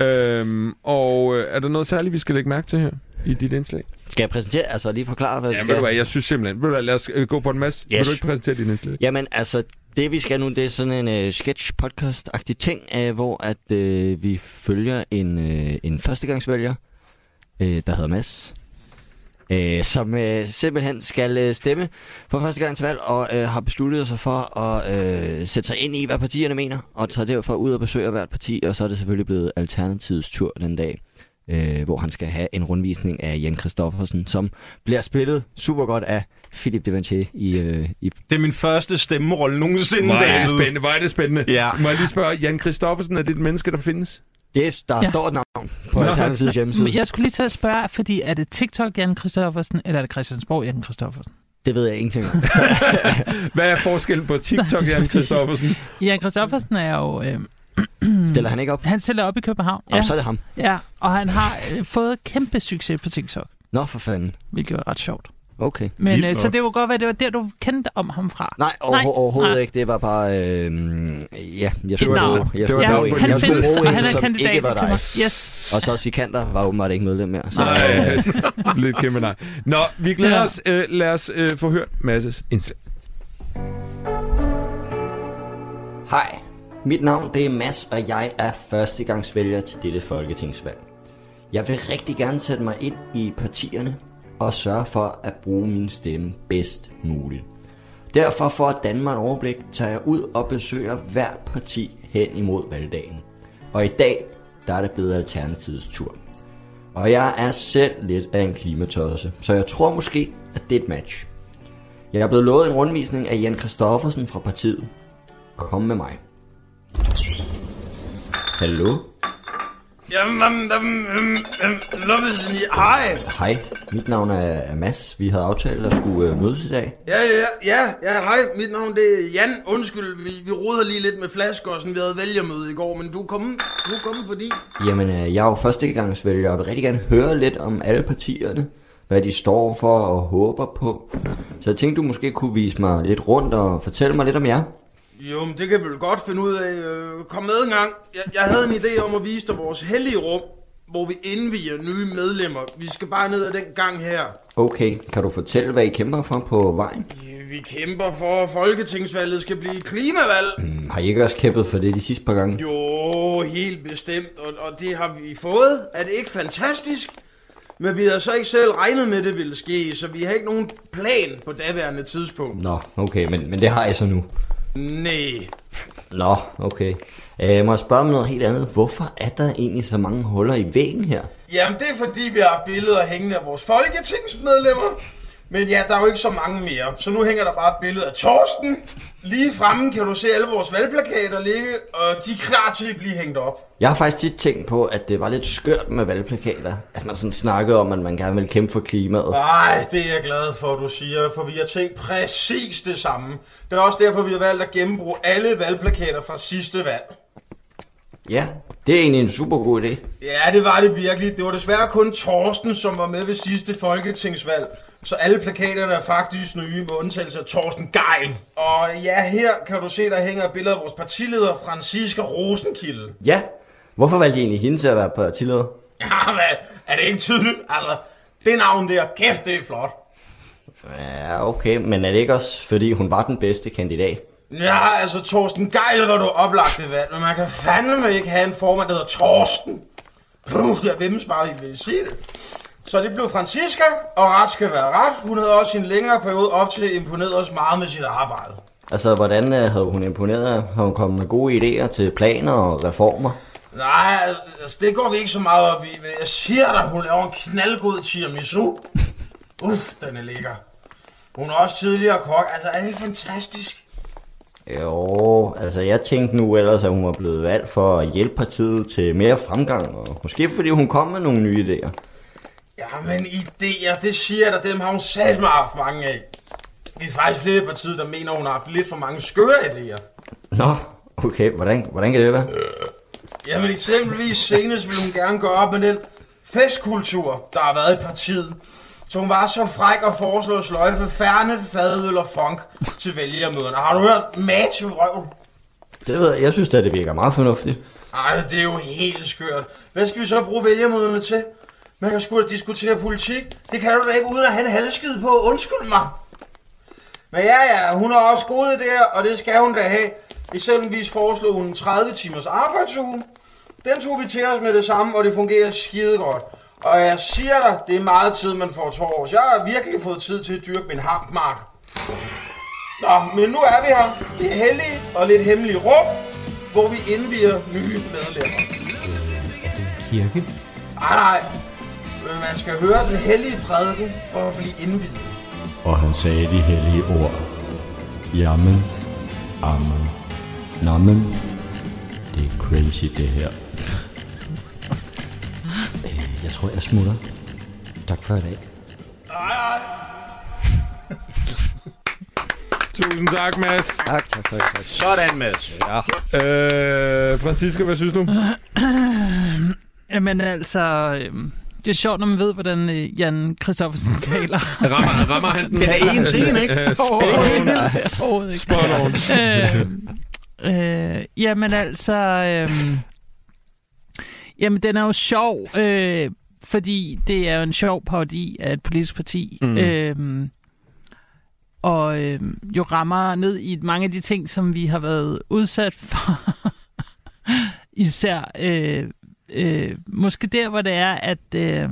Speaker 1: Øhm, og øh, er der noget særligt, vi skal lægge mærke til her i dit indslag?
Speaker 3: Skal jeg præsentere, altså lige forklare, hvad vi
Speaker 1: Ja,
Speaker 3: skal?
Speaker 1: ved du hvad, jeg synes simpelthen... Ved du hvad, lad os øh, gå på en masse. Yes. Vil
Speaker 3: Yes.
Speaker 1: du ikke præsentere din indslag?
Speaker 3: Jamen altså, det vi skal nu, det er sådan en uh, sketch-podcast-agtig ting, uh, hvor at uh, vi følger en, uh, en førstegangsvælger, uh, der hedder Mads, uh, som uh, simpelthen skal uh, stemme for første gang til valg, og uh, har besluttet sig for at uh, sætte sig ind i, hvad partierne mener, og tager derfor ud og besøger hvert parti, og så er det selvfølgelig blevet Alternativets tur den dag. Øh, hvor han skal have en rundvisning af Jan Kristoffersen, som bliver spillet super godt af Philip Devanché i, øh, i
Speaker 5: Det er min første stemmerolle nogensinde,
Speaker 1: Hvor er det
Speaker 5: David.
Speaker 1: spændende, hvor er det spændende.
Speaker 5: Ja.
Speaker 1: Må jeg lige spørge, Jan Kristoffersen, er det et menneske, der findes?
Speaker 3: Det, der
Speaker 4: Ja.
Speaker 3: ja. står et navn på Alternativets hjemmeside.
Speaker 4: Men Jeg skulle lige til at spørge, fordi er det TikTok Jan Kristoffersen, eller er det Christiansborg Jan Kristoffersen?
Speaker 3: Det ved jeg ingenting
Speaker 4: Mm.
Speaker 3: om.
Speaker 1: Hvad er forskellen på
Speaker 4: Nej,
Speaker 1: TikTok,
Speaker 4: det er
Speaker 1: Jan
Speaker 4: fordi-
Speaker 1: Kristoffersen?
Speaker 4: Jan Kristoffersen er jo... Øh, <clears throat>
Speaker 3: Stiller han ikke op?
Speaker 4: han stiller op i København,
Speaker 3: Ja.
Speaker 4: ja,
Speaker 3: så er det ham.
Speaker 4: ja, og han har øh, fået kæmpe succes på TikTok,
Speaker 3: Nå for fanden.
Speaker 4: hvilket var ret sjovt.
Speaker 3: Okay.
Speaker 4: Men
Speaker 1: Vildt
Speaker 4: øh, så
Speaker 1: nok.
Speaker 4: det var godt være, det var der, du kendte om ham fra.
Speaker 3: Nej, over,
Speaker 4: Nej.
Speaker 3: Nej. overhovedet
Speaker 4: Nej.
Speaker 3: Nej. ikke. Det var bare... Øh, ja, jeg skulle
Speaker 4: navn.
Speaker 3: bruge- jeg
Speaker 1: Det var
Speaker 3: skulle
Speaker 1: et
Speaker 4: Ja,
Speaker 1: navn
Speaker 3: bruge
Speaker 1: på din
Speaker 3: en-
Speaker 4: han
Speaker 3: jeg skulle
Speaker 4: findes,
Speaker 3: bruge
Speaker 4: og
Speaker 3: en,
Speaker 4: han er
Speaker 3: som
Speaker 4: kandidat i
Speaker 3: ikke var dig.
Speaker 4: København. Yes.
Speaker 3: Og så Sikander var åbenbart ikke medlem mere. Så,
Speaker 1: <laughs> Nej, lidt kæmpe nej. Nå, vi glæder
Speaker 4: Ja.
Speaker 1: os. Øh, lad os øh, få hørt Masses indslag.
Speaker 3: Hej, mit navn det er Mads, og jeg er førstegangsvælger til dette folketingsvalg. Jeg vil rigtig gerne sætte mig ind i partierne og sørge for at bruge min stemme bedst muligt. Derfor for at danne mig et overblik, tager jeg ud og besøger hver parti hen imod valgdagen. Og i dag, der er det blevet Alternativets tur. Og jeg er selv lidt af en klimatosse, så jeg tror måske, at det er et match. Jeg er blevet lovet en rundvisning af Jan Kristoffersen fra partiet, Kom med mig. Hallo?
Speaker 5: Jamen, jamen, øhm, øhm, Lovesen, hej.
Speaker 3: Hej, mit navn er er Mads. Vi havde aftalt at skulle øh, mødes i dag.
Speaker 7: Ja, ja, ja, ja, hej, mit navn det er Jan. Undskyld, vi, vi roder lige lidt med flasker, og sådan, vi havde vælgermøde i går, men du er kommet, du er kommet fordi...
Speaker 3: Jamen, øh, jeg er jo førstegangsvælger og vil rigtig gerne høre lidt om alle partierne. Hvad de står for og håber på. Så jeg tænkte, du måske kunne vise mig lidt rundt og fortælle mig lidt om jer.
Speaker 7: Jo, men det kan vi vel godt finde ud af. Øh, Kom med en gang. Jeg, jeg havde en idé om at vise dig vores hellige rum, hvor vi indviger nye medlemmer. Vi skal bare ned ad den gang her.
Speaker 3: Okay, kan du fortælle, hvad I kæmper for på vejen?
Speaker 7: Ja, Vi kæmper for, at folketingsvalget skal blive klimavalg.
Speaker 3: Har I ikke også kæmpet for det de sidste par gange?
Speaker 7: Jo, Åh, helt bestemt, og, og det har vi fået. Er det ikke fantastisk? Men vi havde så ikke selv regnet med, at det ville ske, så vi har ikke nogen plan på daværende tidspunkt.
Speaker 3: Nå, okay, men, men det har jeg så nu.
Speaker 7: Nej.
Speaker 3: Nå, okay. Øh, må jeg spørge om noget helt andet? Hvorfor er der egentlig så mange huller i væggen her?
Speaker 7: Jamen, det er fordi, vi har haft billeder hængende af vores folketingsmedlemmer. Men ja, der er jo ikke så mange mere, så nu hænger der bare et billede af Torsten. Lige fremme kan du se alle vores valgplakater ligge, og de er klar til at blive hængt op.
Speaker 3: Jeg har faktisk tit tænkt på, at det var lidt skørt med valgplakater. At man sådan snakkede om, at man gerne vil kæmpe for klimaet.
Speaker 7: Nej, det er jeg glad for, du siger, for vi har tænkt præcis det samme. Det er også derfor, vi har valgt at gennembruge alle valgplakater fra sidste valg.
Speaker 3: Ja, det er egentlig en super god idé.
Speaker 7: Ja, det var det virkelig. Det var desværre kun Torsten, som var med ved sidste folketingsvalg. Så alle plakaterne er faktisk nye, med undtagelse af Torsten Geil. Og ja, her kan du se, der hænger et billede af vores partileder, Franziska Rosenkilde. <laughs>
Speaker 3: Ja, hvorfor valgte I egentlig hende til at være partileder?
Speaker 7: Ja, hvad? Er det ikke tydeligt? Altså, det navn der, kæft, det er flot.
Speaker 3: Ja, okay, men er det ikke også, fordi hun var den bedste kandidat?
Speaker 7: Ja, altså Torsten Geil var du oplagt det valg, men man kan fandme ikke have en formand, der hedder Torsten. Puh, jeg vimmes bare, I vil sige det. Så det blev Francisca, og ret skal være ret. Hun havde også i en længere periode op til imponeret os meget med sit arbejde.
Speaker 3: Altså, hvordan øh, havde hun imponeret jer? Har hun kommet med gode idéer til planer og reformer?
Speaker 7: Nej, altså, det går vi ikke så meget op i, men jeg siger dig, hun laver en knaldgod tiramisu. Uff, den er lækker. Hun er også tidligere kok, altså er det fantastisk?
Speaker 3: Jo, altså jeg tænkte nu ellers, at hun var blevet valgt for at hjælpe partiet til mere fremgang, og måske fordi hun kom med nogle nye idéer.
Speaker 7: Jamen, idéer, det siger jeg dig, dem har hun selv med haft mange af. Vi er faktisk flere i partiet, der mener, hun har haft lidt for mange skøre idéer.
Speaker 3: Nå, okay, hvordan, hvordan kan det være?
Speaker 7: Jamen, eksempelvis senest ville hun gerne gå op med den festkultur, der har været i partiet. Så hun var så fræk og foreslå sløjte for færnet, fadøl og funk til vælgermøderne. Har du hørt match i røven?
Speaker 3: Det ved jeg, jeg synes da, det virker meget fornuftigt.
Speaker 7: Ej, det er jo helt skørt. Hvad skal vi så bruge vælgermøderne til? Man kan sgu da diskutere politik. Det kan du da ikke uden at have en halskid på. Undskyld mig. Men ja, ja, hun har også gode idéer, og det skal hun da have. Eksempelvis foreslog hun en 30 timers arbejdsuge. Den tog vi til os med det samme, og det fungerer skide godt. Og jeg siger dig, det er meget tid, man får tårs. Jeg har virkelig fået tid til at dyrke min hampmark. Nå, men nu er vi her. Det er heldige og lidt hemmelige rum, hvor vi indviger nye medlemmer.
Speaker 8: Kirke.
Speaker 7: Nej, nej. Men man skal høre den hellige prædiken for at blive indviet.
Speaker 9: Og han sagde de hellige ord. Jamen, amen, namen. Det er crazy det her.
Speaker 3: Øh, Jeg tror, jeg smutter. Tak for i dag.
Speaker 7: Nej, nej.
Speaker 1: Tusind tak, Mads.
Speaker 3: Tak, tak, tak. tak.
Speaker 5: Sådan, Mads. Ja.
Speaker 1: Øh, Francisca, hvad synes du?
Speaker 4: Jamen altså, øhm, det er sjovt, når man ved, hvordan øh, Jan Kristoffersen <laughs> taler.
Speaker 1: Rammer, rammer han den?
Speaker 5: Det er en til en, ikke?
Speaker 1: Øh, spot on.
Speaker 4: Overhovedet- Overhovedet ikke.
Speaker 1: Spot on.
Speaker 4: Øhm, øh, jamen altså, øh, jamen den er jo sjov, øh, fordi det er jo en sjov parodi af et politisk parti,
Speaker 1: Mm.
Speaker 4: mm. øh, og øh, jo rammer ned i mange af de ting, som vi har været udsat for, <laughs> især øh, øh, måske der, hvor det er, at, øh,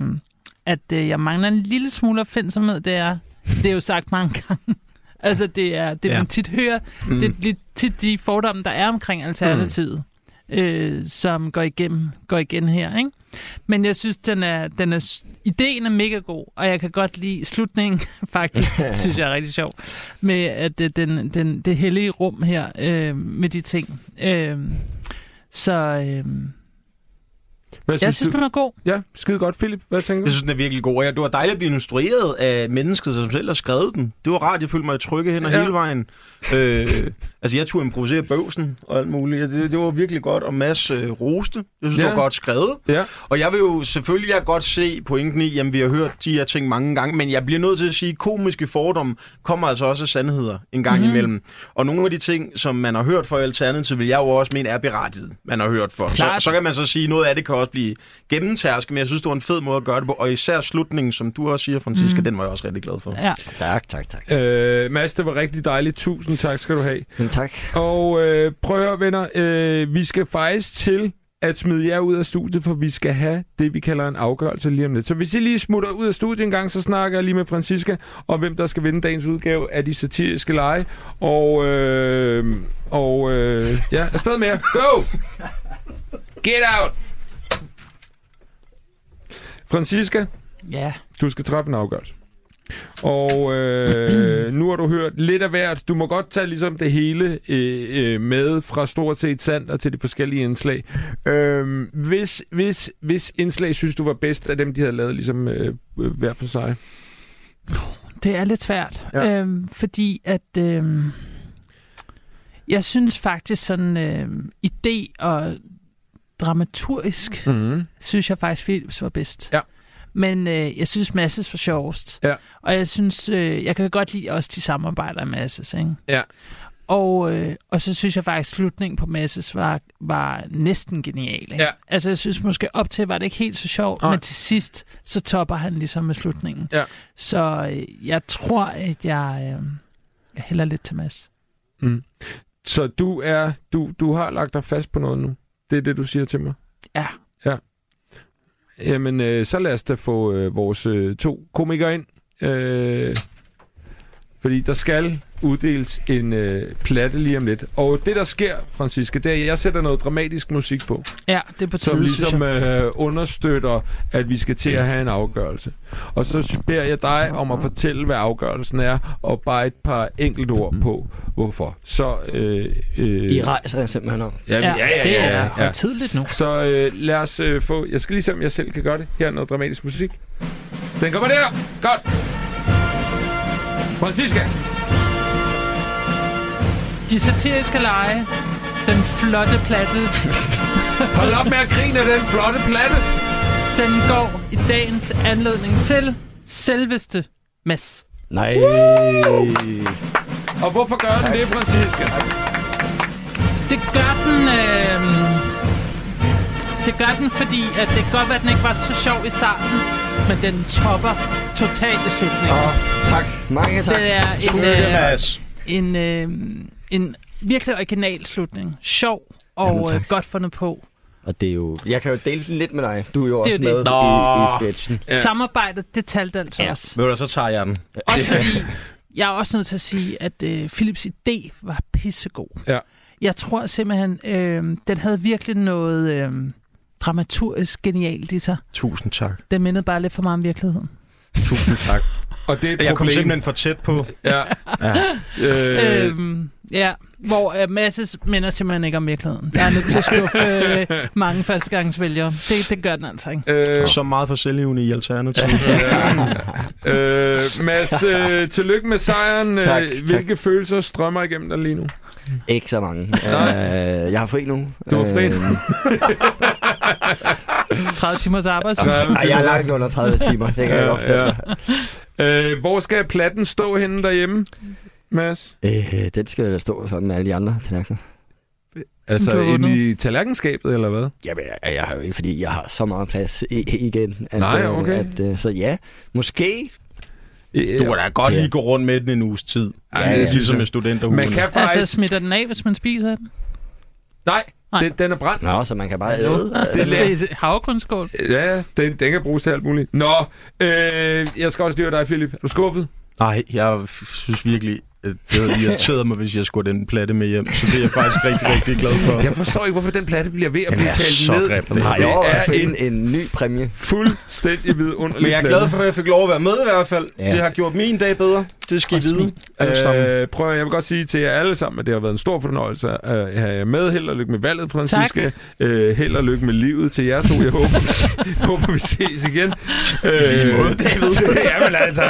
Speaker 4: at øh, jeg mangler en lille smule opfindsomhed, det er, det er jo sagt mange gange. <laughs> Altså, det er det,
Speaker 5: Ja.
Speaker 4: man tit hører. Mm. Det er lidt tit de fordomme, der er omkring Alternativet, mm. øh, som går, igennem, går igen her, ikke? Men jeg synes, den er, den er, s- ideen er mega god, og jeg kan godt lide slutningen, <laughs> faktisk, det synes jeg er rigtig sjov, med at øh, den, den, det hellige rum her, øh, med de ting. Øh, så øh,
Speaker 1: Hvad
Speaker 4: jeg
Speaker 1: synes,
Speaker 4: synes,
Speaker 1: du?
Speaker 4: den er god.
Speaker 1: Ja, skide godt, Philip. Hvad tænker
Speaker 5: Jeg
Speaker 1: du?
Speaker 5: synes, den er virkelig god. Og ja, det var dejligt at blive instrueret af mennesket, som selv har skrevet den. Det var rart, jeg følte mig i trygge hen
Speaker 1: Ja.
Speaker 5: ja. hele vejen. Øh, altså, jeg turde improvisere bøvsen og alt muligt. Ja, Det, det var virkelig godt. Og Mads øh, roste. Jeg synes, ja.
Speaker 1: Ja.
Speaker 5: det var godt skrevet.
Speaker 1: Ja.
Speaker 5: Og jeg vil jo selvfølgelig jeg kan godt se pointen i, jamen vi har hørt de her ting mange gange, men jeg bliver nødt til at sige, at komiske fordomme kommer altså også af sandheder en
Speaker 4: Mhm.
Speaker 5: gang mm. imellem. Og nogle af de ting, som man har hørt for Alternativet, vil jeg jo også mene er berettiget, man har hørt for. Så,
Speaker 4: Klart.
Speaker 5: så kan man så sige, noget af det kan også blive gennemtærsket, men jeg synes, det var en fed måde at gøre det på. Og især slutningen, som du også siger, Francisca, mm. den var jeg også rigtig glad for.
Speaker 4: Mhm. Ja.
Speaker 3: Tak, tak, tak.
Speaker 1: Øh, Mads, det var rigtig dejligt. Tusind tak skal du have.
Speaker 3: Men tak.
Speaker 1: Og øh, prøv at høre, venner. Øh, vi skal faktisk til at smide jer ud af studiet, for vi skal have det, vi kalder en afgørelse lige om lidt. Så hvis I lige smutter ud af studiet en gang, så snakker jeg lige med Francisca om, hvem der skal vinde dagens udgave af de satiriske lege. Og, øh, og øh, ja, afsted med jer. Go! Get out! Francisca,
Speaker 4: Ja.
Speaker 1: du skal træffe en afgørelse. Og øh, nu har du hørt lidt af hvert. Du må godt tage ligesom det hele øh, øh, med fra stort set sandt og til de forskellige indslag. Øh, hvis, hvis, hvis indslag synes du var bedst af dem, de havde lavet ligesom øh, øh, hver for sig?
Speaker 4: Det er lidt svært,
Speaker 1: Ja.
Speaker 4: ja. øhm, fordi at øhm, jeg synes faktisk sådan øhm, idé og dramaturgisk,
Speaker 1: Mm-hmm.
Speaker 4: synes jeg faktisk Philips var bedst.
Speaker 1: Ja.
Speaker 4: Men øh, jeg synes Masses var sjovest.
Speaker 1: Ja.
Speaker 4: Og jeg synes, øh, jeg kan godt lide også de samarbejder med Masses, ikke?
Speaker 1: Ja.
Speaker 4: Og, øh, og så synes jeg faktisk, at slutningen på Masses var, var næsten genial. Ikke?
Speaker 1: Ja.
Speaker 4: Altså jeg synes måske op til var det ikke helt så sjovt,
Speaker 1: Nej.
Speaker 4: men til sidst, så topper han ligesom med slutningen.
Speaker 1: Ja.
Speaker 4: Så øh, jeg tror, at jeg, øh, jeg hælder lidt til Mads.
Speaker 1: Så du er du, du har lagt dig fast på noget nu. Det er det, du siger til mig.
Speaker 4: Ja.
Speaker 1: Ja. Jamen, øh, så lad os da få øh, vores øh, to komikere ind. Øh, fordi der skal uddeles en øh, plade lige om lidt. Og det, der sker, Franciske, det er, at jeg sætter noget dramatisk musik på,
Speaker 4: Ja, det er på
Speaker 1: som
Speaker 4: tide, synes
Speaker 1: ligesom
Speaker 4: jeg.
Speaker 1: øh, understøtter, at vi skal til at have en afgørelse. Og så beder jeg dig om at fortælle, hvad afgørelsen er, og bare et par enkelte ord på, hvorfor. Så øh, øh,
Speaker 3: I rejser simpelthen om.
Speaker 1: Ja, ja, ja, ja,
Speaker 4: det
Speaker 1: ja,
Speaker 4: er
Speaker 1: ja, ja.
Speaker 4: tidligt nu.
Speaker 1: Så øh, lad os øh, få... Jeg skal lige se, om jeg selv kan gøre det. Her er noget dramatisk musik. Den kommer der! Godt! Francisca!
Speaker 4: De satiriske lege, den flotte
Speaker 3: <laughs>
Speaker 4: platte,
Speaker 1: Hold op med at grine af den flotte platte!
Speaker 4: den går i dagens anledning til selveste Mads.
Speaker 3: Nej.
Speaker 1: Og hvorfor gør den det, Francisca?
Speaker 4: Det gør den... Øh, det gør den, fordi at det kan godt være, at den ikke var så sjov i starten, men den topper totalt i slutningen.
Speaker 3: Åh, tak. Mange tak.
Speaker 4: Det er en, øh,
Speaker 5: Yes.
Speaker 4: en, øh, en virkelig original slutning. Sjov og
Speaker 3: Jamen, tak.
Speaker 4: øh, godt fundet på.
Speaker 3: Og det er jo... Jeg kan jo dele den lidt med dig. Du er jo
Speaker 4: Det er
Speaker 3: også
Speaker 4: jo det.
Speaker 3: med i, i sketchen.
Speaker 4: Ja. Samarbejdet, det talte altså ja. også.
Speaker 5: Ved du, hvad, så tager jeg den.
Speaker 4: Også
Speaker 5: <laughs>
Speaker 4: fordi, jeg er også nødt til at sige, at øh, Philips idé var pissegod.
Speaker 1: Ja.
Speaker 4: Jeg tror simpelthen, øh, den havde virkelig noget øh, dramaturgisk genialt i sig.
Speaker 5: Tusind tak.
Speaker 4: Den mindede bare lidt for meget om virkeligheden.
Speaker 5: Tusind tak.
Speaker 1: Og det er et
Speaker 5: Jeg kom
Speaker 1: problem.
Speaker 5: simpelthen for tæt på.
Speaker 1: Ja. ja. Øh,
Speaker 4: Øhm, ja, hvor øh, Masses minder simpelthen ikke om virkeligheden. Der er nødt til at skuffe øh, mange førstegangsvælgere. Det, det gør den altså ikke.
Speaker 1: øh,
Speaker 5: Så meget for selvgivende i Alternativet.
Speaker 1: øh, Mads, øh, tillykke med sejren.
Speaker 3: Tak,
Speaker 1: Øh,
Speaker 3: tak.
Speaker 1: Hvilke følelser strømmer igennem dig lige nu?
Speaker 3: Ikke så mange.
Speaker 1: Nej.
Speaker 3: Øh, jeg har fri nu.
Speaker 1: Du har fri.
Speaker 3: Øh,
Speaker 4: 30 timers arbejde.
Speaker 3: Ej, jeg er langt under
Speaker 1: <laughs>
Speaker 3: 30 timer. Det kan jeg godt fortælle dig.
Speaker 1: Øh, hvor skal platten stå henne derhjemme, Mads?
Speaker 3: Øh, den skal da stå sådan med alle de andre tallerkener.
Speaker 1: Altså
Speaker 4: du har
Speaker 1: inde
Speaker 4: vundet.
Speaker 1: i tallerkenskabet, eller hvad?
Speaker 3: Jamen, jeg, jeg har jo ikke, fordi jeg har så meget plads i, i- igen. At,
Speaker 1: Nej,
Speaker 3: øh,
Speaker 1: okay.
Speaker 3: At, øh, så ja, måske.
Speaker 5: Du kan da godt
Speaker 3: Ja.
Speaker 5: lige gå rundt med den en uges tid.
Speaker 1: Ja,
Speaker 5: Ja,
Speaker 1: ja.
Speaker 5: ja. Ligesom en student
Speaker 1: Man kan faktisk...
Speaker 4: Altså, smitter den af, hvis man spiser den?
Speaker 1: Nej,
Speaker 4: Nej.
Speaker 1: Den, den er brændt.
Speaker 3: Nå, så man kan bare æde.
Speaker 1: Det er
Speaker 4: Det er et havregrynskål.
Speaker 1: Ja, den, den kan bruges til alt muligt. Nå, øh, jeg skal også lige høre dig, Philip. Er du skuffet?
Speaker 5: Nej, jeg synes virkelig, at det havde irriteret mig, hvis jeg skulle have den platte med hjem. Så det er jeg faktisk rigtig, rigtig glad for.
Speaker 1: Jeg forstår ikke, hvorfor den platte bliver ved at
Speaker 5: Den
Speaker 1: blive
Speaker 5: er
Speaker 1: talt
Speaker 5: så
Speaker 1: ned.
Speaker 5: grim, den
Speaker 1: det,
Speaker 5: her.
Speaker 3: Har jeg
Speaker 1: er
Speaker 3: også
Speaker 1: en
Speaker 3: en, en ny præmie?
Speaker 1: fuldstændig vidunderlig
Speaker 5: Men jeg er glad for, at jeg fik lov at være med i hvert fald.
Speaker 3: Ja.
Speaker 5: Ja. Det har gjort min dag bedre. Det skal I
Speaker 4: Og
Speaker 5: vide. Alle sammen.
Speaker 1: Øh, prøv at, jeg vil godt sige til jer alle sammen, at det har været en stor fornøjelse at have jer med. Held og lykke med valget, Francisca. Øh, held og lykke med livet til jer to. Jeg håber,
Speaker 5: <laughs>
Speaker 1: vi, håber, vi ses igen. Øh,
Speaker 5: måde,
Speaker 1: <laughs>
Speaker 5: David.
Speaker 1: Jamen altså,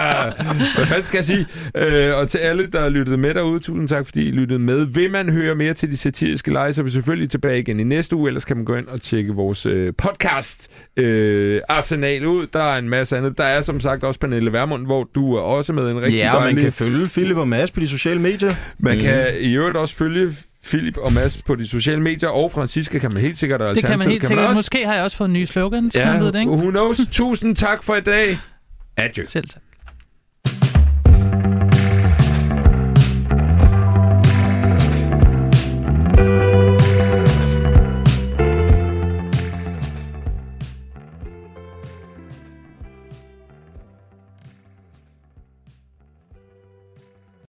Speaker 1: hvad fanden skal jeg sige? Øh, og til alle, der lyttede med derude, tusind tak, fordi I lyttede med. Vil man høre mere til de satiriske lege, så er vi selvfølgelig tilbage igen i næste uge. Ellers kan man gå ind og tjekke vores øh, podcast øh, Arsenal ud. Der er en masse andet. Der er som sagt også Pernille Vermund, hvor du er også med en rigtig
Speaker 5: Ja, og man
Speaker 1: dejlig-
Speaker 5: kan følge Philip og Mads på de sociale medier.
Speaker 1: man kan i øvrigt også følge Philip og Mads på de sociale medier, og Francisca kan man helt sikkert, og
Speaker 4: Det kan man
Speaker 1: Alternativet
Speaker 4: helt sikkert.
Speaker 1: også. uh.
Speaker 4: Måske har jeg også fået nye slogans, man ved det, ikke?
Speaker 1: who knows? Tusind tak for i dag. Adieu.
Speaker 4: Selv tak.